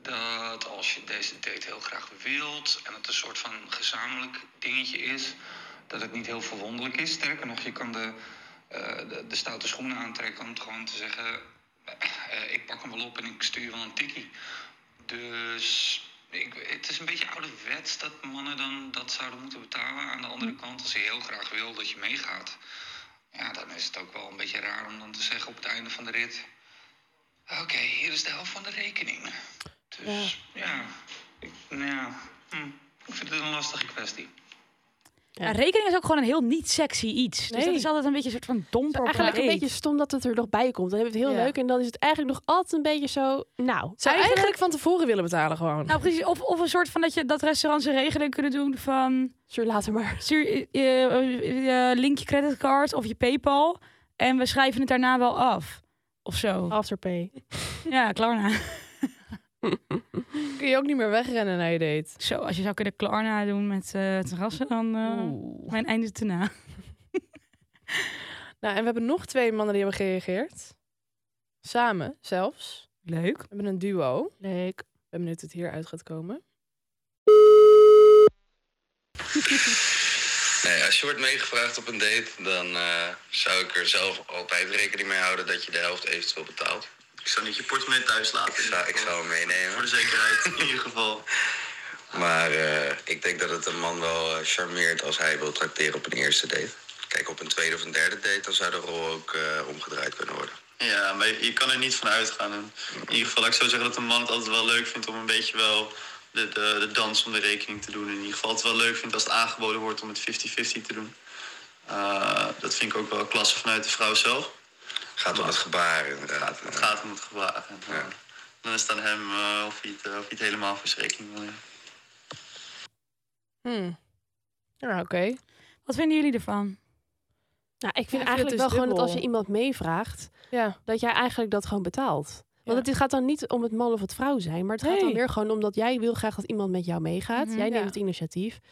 Speaker 7: dat als je deze date heel graag wilt en het een soort van gezamenlijk dingetje is, dat het niet heel verwonderlijk is. Sterker nog, je kan de, eh, de, de stoute schoenen aantrekken om het gewoon te zeggen: eh, ik pak hem wel op en ik stuur je wel een tikkie. Dus ik, het is een beetje ouderwets dat mannen dan dat zouden moeten betalen. Aan de andere kant, als je heel graag wil dat je meegaat, ja, dan is het ook wel een beetje raar om dan te zeggen op het einde van de rit: Oké, hier is de helft van de rekening. Dus ja, ik, nou ja hm, ik vind het een lastige kwestie.
Speaker 2: Ja.
Speaker 1: Ja. rekening is ook gewoon een heel niet sexy iets. Dus dat
Speaker 3: Nee.
Speaker 1: is altijd een beetje een soort van dom voor op
Speaker 2: Eigenlijk een
Speaker 1: date.
Speaker 2: beetje stom dat het er nog bij komt. Dan hebben we het heel
Speaker 3: Ja.
Speaker 2: leuk. En dan is het eigenlijk nog altijd een beetje zo... Nou,
Speaker 3: Zou eigenlijk... van tevoren willen betalen gewoon.
Speaker 1: Nou precies, of, of een soort van dat je dat restaurants een regeling kunnen doen van...
Speaker 2: stuur later maar.
Speaker 1: stuur eh, je, link je creditcard of je PayPal en we schrijven het daarna wel af. Of zo.
Speaker 2: Afterpay.
Speaker 1: Ja, Klarna.
Speaker 3: kun je ook niet meer wegrennen naar je date.
Speaker 1: Zo, als je zou kunnen Klarna doen met eh terrassen, dan eh,
Speaker 3: Oeh.
Speaker 1: mijn einde te na.
Speaker 3: Nou, en we hebben nog twee mannen die hebben gereageerd. Samen, zelfs.
Speaker 1: Leuk.
Speaker 3: We hebben een duo. Ik
Speaker 2: Leuk.
Speaker 3: ben benieuwd hoe het hieruit gaat komen.
Speaker 8: Nee, Nou als je wordt meegevraagd op een date, dan eh, zou ik er zelf altijd rekening mee houden dat je de helft eventueel betaalt.
Speaker 9: Ik zou niet je portemonnee thuis laten.
Speaker 8: Ik zou, ik zou hem meenemen.
Speaker 9: Voor de zekerheid, in ieder geval.
Speaker 8: Maar eh, ik denk dat het een man wel eh, charmeert als hij wil tracteren op een eerste date. Kijk, op een tweede of een derde date, dan zou de rol ook eh, omgedraaid kunnen worden.
Speaker 9: Ja, maar je, je kan er niet van uitgaan. En in ieder geval, ik zou zeggen dat een man het altijd wel leuk vindt om een beetje wel de, de, de dans om de rekening te doen. In ieder geval het wel leuk vindt als het aangeboden wordt om het 50-50 te doen. Eh, dat vind ik ook wel klasse vanuit de vrouw zelf.
Speaker 8: Gaat om het gebaar, eh, inderdaad.
Speaker 9: Het gaat om het gewaar. En, eh,
Speaker 8: Ja.
Speaker 9: Dan is het aan hem eh, of, hij het, eh, of hij het helemaal voor zijn rekening wil nemen.
Speaker 3: Hmm. Ja, oké.
Speaker 1: Wat vinden jullie ervan?
Speaker 2: Nou, ik
Speaker 3: Ja, ik
Speaker 2: vind
Speaker 3: vind het
Speaker 2: eigenlijk
Speaker 3: dus
Speaker 2: wel gewoon dat
Speaker 3: dubbel.
Speaker 2: als je iemand meevraagt,
Speaker 3: Ja.
Speaker 2: dat jij eigenlijk dat gewoon betaalt. Want
Speaker 3: Ja.
Speaker 2: het gaat dan niet om het man of het vrouw zijn, maar het gaat dan
Speaker 3: Nee.
Speaker 2: weer gewoon omdat jij wil graag dat iemand met jou meegaat.
Speaker 1: Mhm.
Speaker 2: jij neemt
Speaker 3: Ja.
Speaker 2: het initiatief. Dan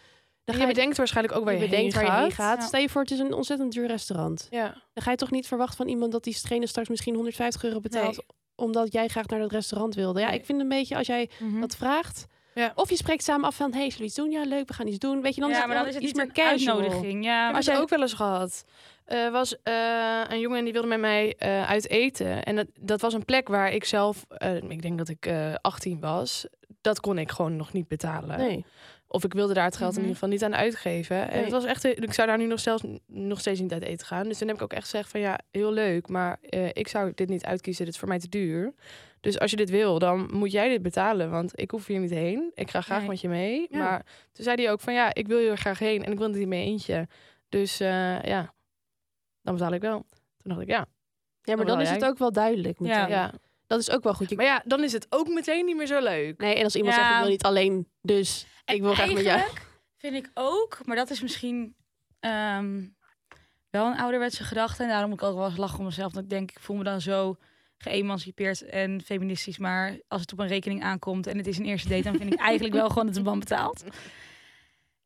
Speaker 3: En
Speaker 2: ga
Speaker 3: je
Speaker 2: je,
Speaker 3: bedenkt waarschijnlijk ook waar je,
Speaker 2: je bedenkt
Speaker 3: heen
Speaker 2: waar je heen
Speaker 3: gaat.
Speaker 2: gaat.
Speaker 1: Ja.
Speaker 2: Stel je voor, het is een ontzettend duur restaurant.
Speaker 3: Ja.
Speaker 2: Dan ga je toch niet verwachten van iemand dat die trainer straks misschien 150 euro betaalt,
Speaker 3: Nee.
Speaker 2: omdat jij graag naar dat restaurant wilde. Ja,
Speaker 3: Nee.
Speaker 2: ik vind een beetje als jij
Speaker 1: Mhm. Hm.
Speaker 2: dat vraagt.
Speaker 3: Ja.
Speaker 2: Of je spreekt samen af van, hey, zullen we iets doen? Ja, leuk, we gaan iets doen. Weet je, dan is
Speaker 1: ja,
Speaker 2: het,
Speaker 1: maar dan is het
Speaker 2: iets
Speaker 1: niet
Speaker 2: meer
Speaker 1: meer
Speaker 2: casual.
Speaker 1: uitnodiging. Ja,
Speaker 3: Ik
Speaker 1: maar
Speaker 3: heb
Speaker 2: als
Speaker 3: het
Speaker 2: jij-
Speaker 3: ook wel eens gehad. Er was eh, een jongen die wilde met mij eh, uit eten. En dat, dat was een plek waar ik zelf, eh, ik denk dat ik eh 18 was, dat kon ik gewoon nog niet betalen.
Speaker 2: Nee.
Speaker 3: Of ik wilde daar het geld
Speaker 1: Mhm.
Speaker 3: in ieder geval niet aan uitgeven. En
Speaker 2: Nee.
Speaker 3: het was echt, eh, ik zou daar nu nog, zelfs, nog steeds niet uit eten gaan. Dus toen heb ik ook echt gezegd van ja, heel leuk, maar eh, ik zou dit niet uitkiezen. Dit is voor mij te duur. Dus als je dit wil, dan moet jij dit betalen. Want ik hoef hier niet heen. Ik ga graag
Speaker 1: Nee.
Speaker 3: met je mee.
Speaker 2: Ja.
Speaker 3: Maar toen zei hij ook van ja, ik wil hier graag heen. En ik wil niet in mijn eentje. Dus eh, ja, dan betaal ik wel. Toen dacht ik ja.
Speaker 2: Ja, maar
Speaker 3: Dan
Speaker 2: dan
Speaker 3: wil
Speaker 2: is het
Speaker 3: jij.
Speaker 2: ook wel duidelijk meteen.
Speaker 3: ja.
Speaker 2: Dat is ook wel goed. Je
Speaker 3: Maar ja, dan is het ook meteen niet meer zo leuk.
Speaker 2: Nee, en als iemand
Speaker 1: Ja.
Speaker 2: zegt, ik wil niet alleen, dus ik wil graag met jou.
Speaker 1: vind ik ook, maar dat is misschien ehm, wel een ouderwetse gedachte. En daarom moet ik ook wel eens lachen om mezelf. Want ik denk, ik voel me dan zo geëmancipeerd en feministisch. Maar als het op een rekening aankomt en het is een eerste date... dan vind ik eigenlijk wel gewoon dat de man betaalt.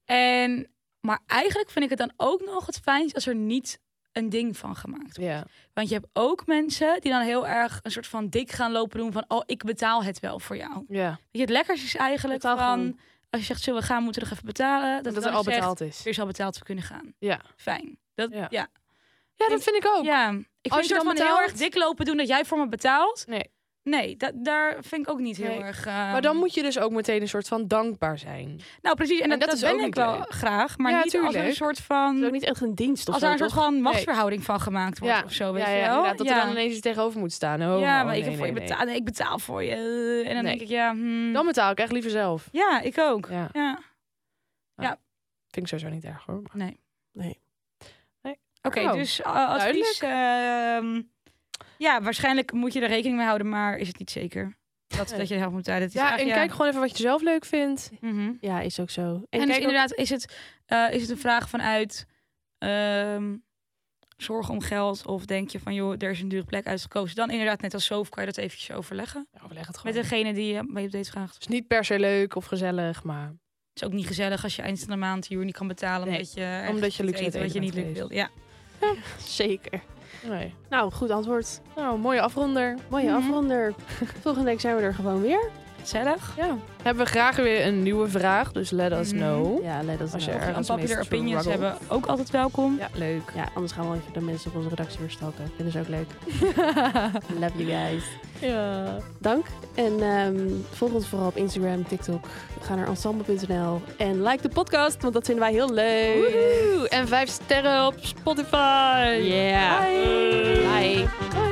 Speaker 1: En, maar eigenlijk vind ik het dan ook nog het fijnst als er niet een ding van gemaakt wordt.
Speaker 3: Ja.
Speaker 1: Want je hebt ook mensen die dan heel erg een soort van dik gaan lopen doen van... oh, ik betaal het wel voor jou.
Speaker 3: Ja.
Speaker 1: Weet je, het lekkerste is eigenlijk
Speaker 2: Betaal
Speaker 1: van...
Speaker 2: gewoon.
Speaker 1: als je zegt, zullen we gaan, moeten we nog even betalen.
Speaker 3: Dat,
Speaker 1: er
Speaker 3: het al betaald is.
Speaker 1: Er is al betaald, we kunnen gaan.
Speaker 3: Ja.
Speaker 1: Fijn. Dat,
Speaker 3: Ja.
Speaker 1: ja. Ja.
Speaker 3: Ja, dat vind ik ook.
Speaker 1: Ik vind
Speaker 3: Als
Speaker 1: het
Speaker 3: je
Speaker 1: soort
Speaker 3: dan
Speaker 1: van heel
Speaker 3: betaalt-
Speaker 1: erg dik lopen doen dat jij voor me betaalt.
Speaker 3: Nee.
Speaker 1: Nee, da- daar vind ik ook niet heel
Speaker 3: Nee.
Speaker 1: erg... ehm,
Speaker 3: Maar dan moet je dus ook meteen een soort van dankbaar zijn.
Speaker 1: Nou, precies. En,
Speaker 3: En
Speaker 1: dat,
Speaker 3: dat
Speaker 1: dat
Speaker 3: is ook
Speaker 1: ben ik
Speaker 3: niet
Speaker 1: wel
Speaker 3: leuk.
Speaker 1: graag. Maar
Speaker 3: Ja,
Speaker 1: niet als er een
Speaker 3: tuurlijk.
Speaker 1: soort
Speaker 2: Het is ook
Speaker 1: van...
Speaker 2: niet echt een dienst of
Speaker 1: Als
Speaker 2: zo,
Speaker 1: daar een soort
Speaker 2: toch?
Speaker 1: van machtsverhouding van gemaakt wordt of zo, weet
Speaker 3: ja,
Speaker 1: je
Speaker 3: ja,
Speaker 1: wel?
Speaker 3: inderdaad, dat
Speaker 1: ja.
Speaker 3: er dan ineens iets tegenover moet staan. Oh,
Speaker 1: ja,
Speaker 3: oh,
Speaker 1: maar ik,
Speaker 3: nee,
Speaker 1: heb voor
Speaker 3: nee,
Speaker 1: je
Speaker 3: nee.
Speaker 1: betaald, nee, ik betaal voor je. eh, En dan
Speaker 3: Nee.
Speaker 1: denk ik, ja... hmm.
Speaker 3: Dan betaal ik echt liever zelf.
Speaker 1: Ja, ik ook.
Speaker 3: Ja,
Speaker 1: Ja.
Speaker 3: vind ik sowieso niet erg hoor. Maar-
Speaker 1: Oké,
Speaker 3: Oh,
Speaker 1: dus eh, advies. ehm, ja, waarschijnlijk moet je er rekening mee houden, maar is het niet zeker dat, dat je de helft moet betalen. Het is
Speaker 3: Ja, en
Speaker 1: eigenlijk-
Speaker 3: kijk gewoon even wat je zelf leuk vindt.
Speaker 1: ja. Mhm.
Speaker 2: Ja, is ook zo. En,
Speaker 1: En, dus
Speaker 2: kijk ook-
Speaker 1: inderdaad, is het, eh, is het een vraag vanuit ehm zorg om geld of denk je van joh, er is een dure plek uitgekozen. Dan inderdaad, net als zoof, kan je dat eventjes overleggen
Speaker 3: Overleg het
Speaker 1: met
Speaker 3: gewoon.
Speaker 1: degene die eh, je mee op date vraagt.
Speaker 3: is niet per se leuk of gezellig, maar
Speaker 1: Het is ook niet gezellig als je eind van de maand je huur niet kan betalen
Speaker 3: Nee,
Speaker 1: omdat je ergens
Speaker 3: omdat je
Speaker 1: moet
Speaker 3: luxe met
Speaker 1: eten wat
Speaker 3: eten
Speaker 1: je niet
Speaker 3: bent
Speaker 1: leuk
Speaker 3: geweest.
Speaker 1: wilt. Ja.
Speaker 2: Zeker.
Speaker 3: nee.
Speaker 2: Nou, goed antwoord.
Speaker 3: Nou, mooie afronder.
Speaker 2: Mooie
Speaker 1: Mhm.
Speaker 2: afronder. Volgende week zijn we er gewoon weer.
Speaker 1: Gezellig.
Speaker 3: Ja. Hebben we graag weer een nieuwe vraag, dus let us
Speaker 1: Mhm.
Speaker 3: know.
Speaker 2: Ja, let nou us
Speaker 3: Als
Speaker 2: know.
Speaker 3: je er-
Speaker 1: En
Speaker 3: Ergens mee
Speaker 1: popular opinions
Speaker 3: struggle.
Speaker 1: hebben ook altijd welkom.
Speaker 3: Ja, leuk.
Speaker 2: Ja, anders gaan we wel even de mensen op onze redactie verstalken. Vinden ze dus ook leuk. Love you guys.
Speaker 3: ja.
Speaker 2: Dank. En ehm, volg ons vooral op Instagram, TikTok. Ga naar ensemble.nl. En like de podcast, want dat vinden wij heel leuk.
Speaker 3: Woehoe. En vijf sterren op Spotify.
Speaker 2: Yeah.
Speaker 3: Bye.
Speaker 2: Bye.
Speaker 3: Bye.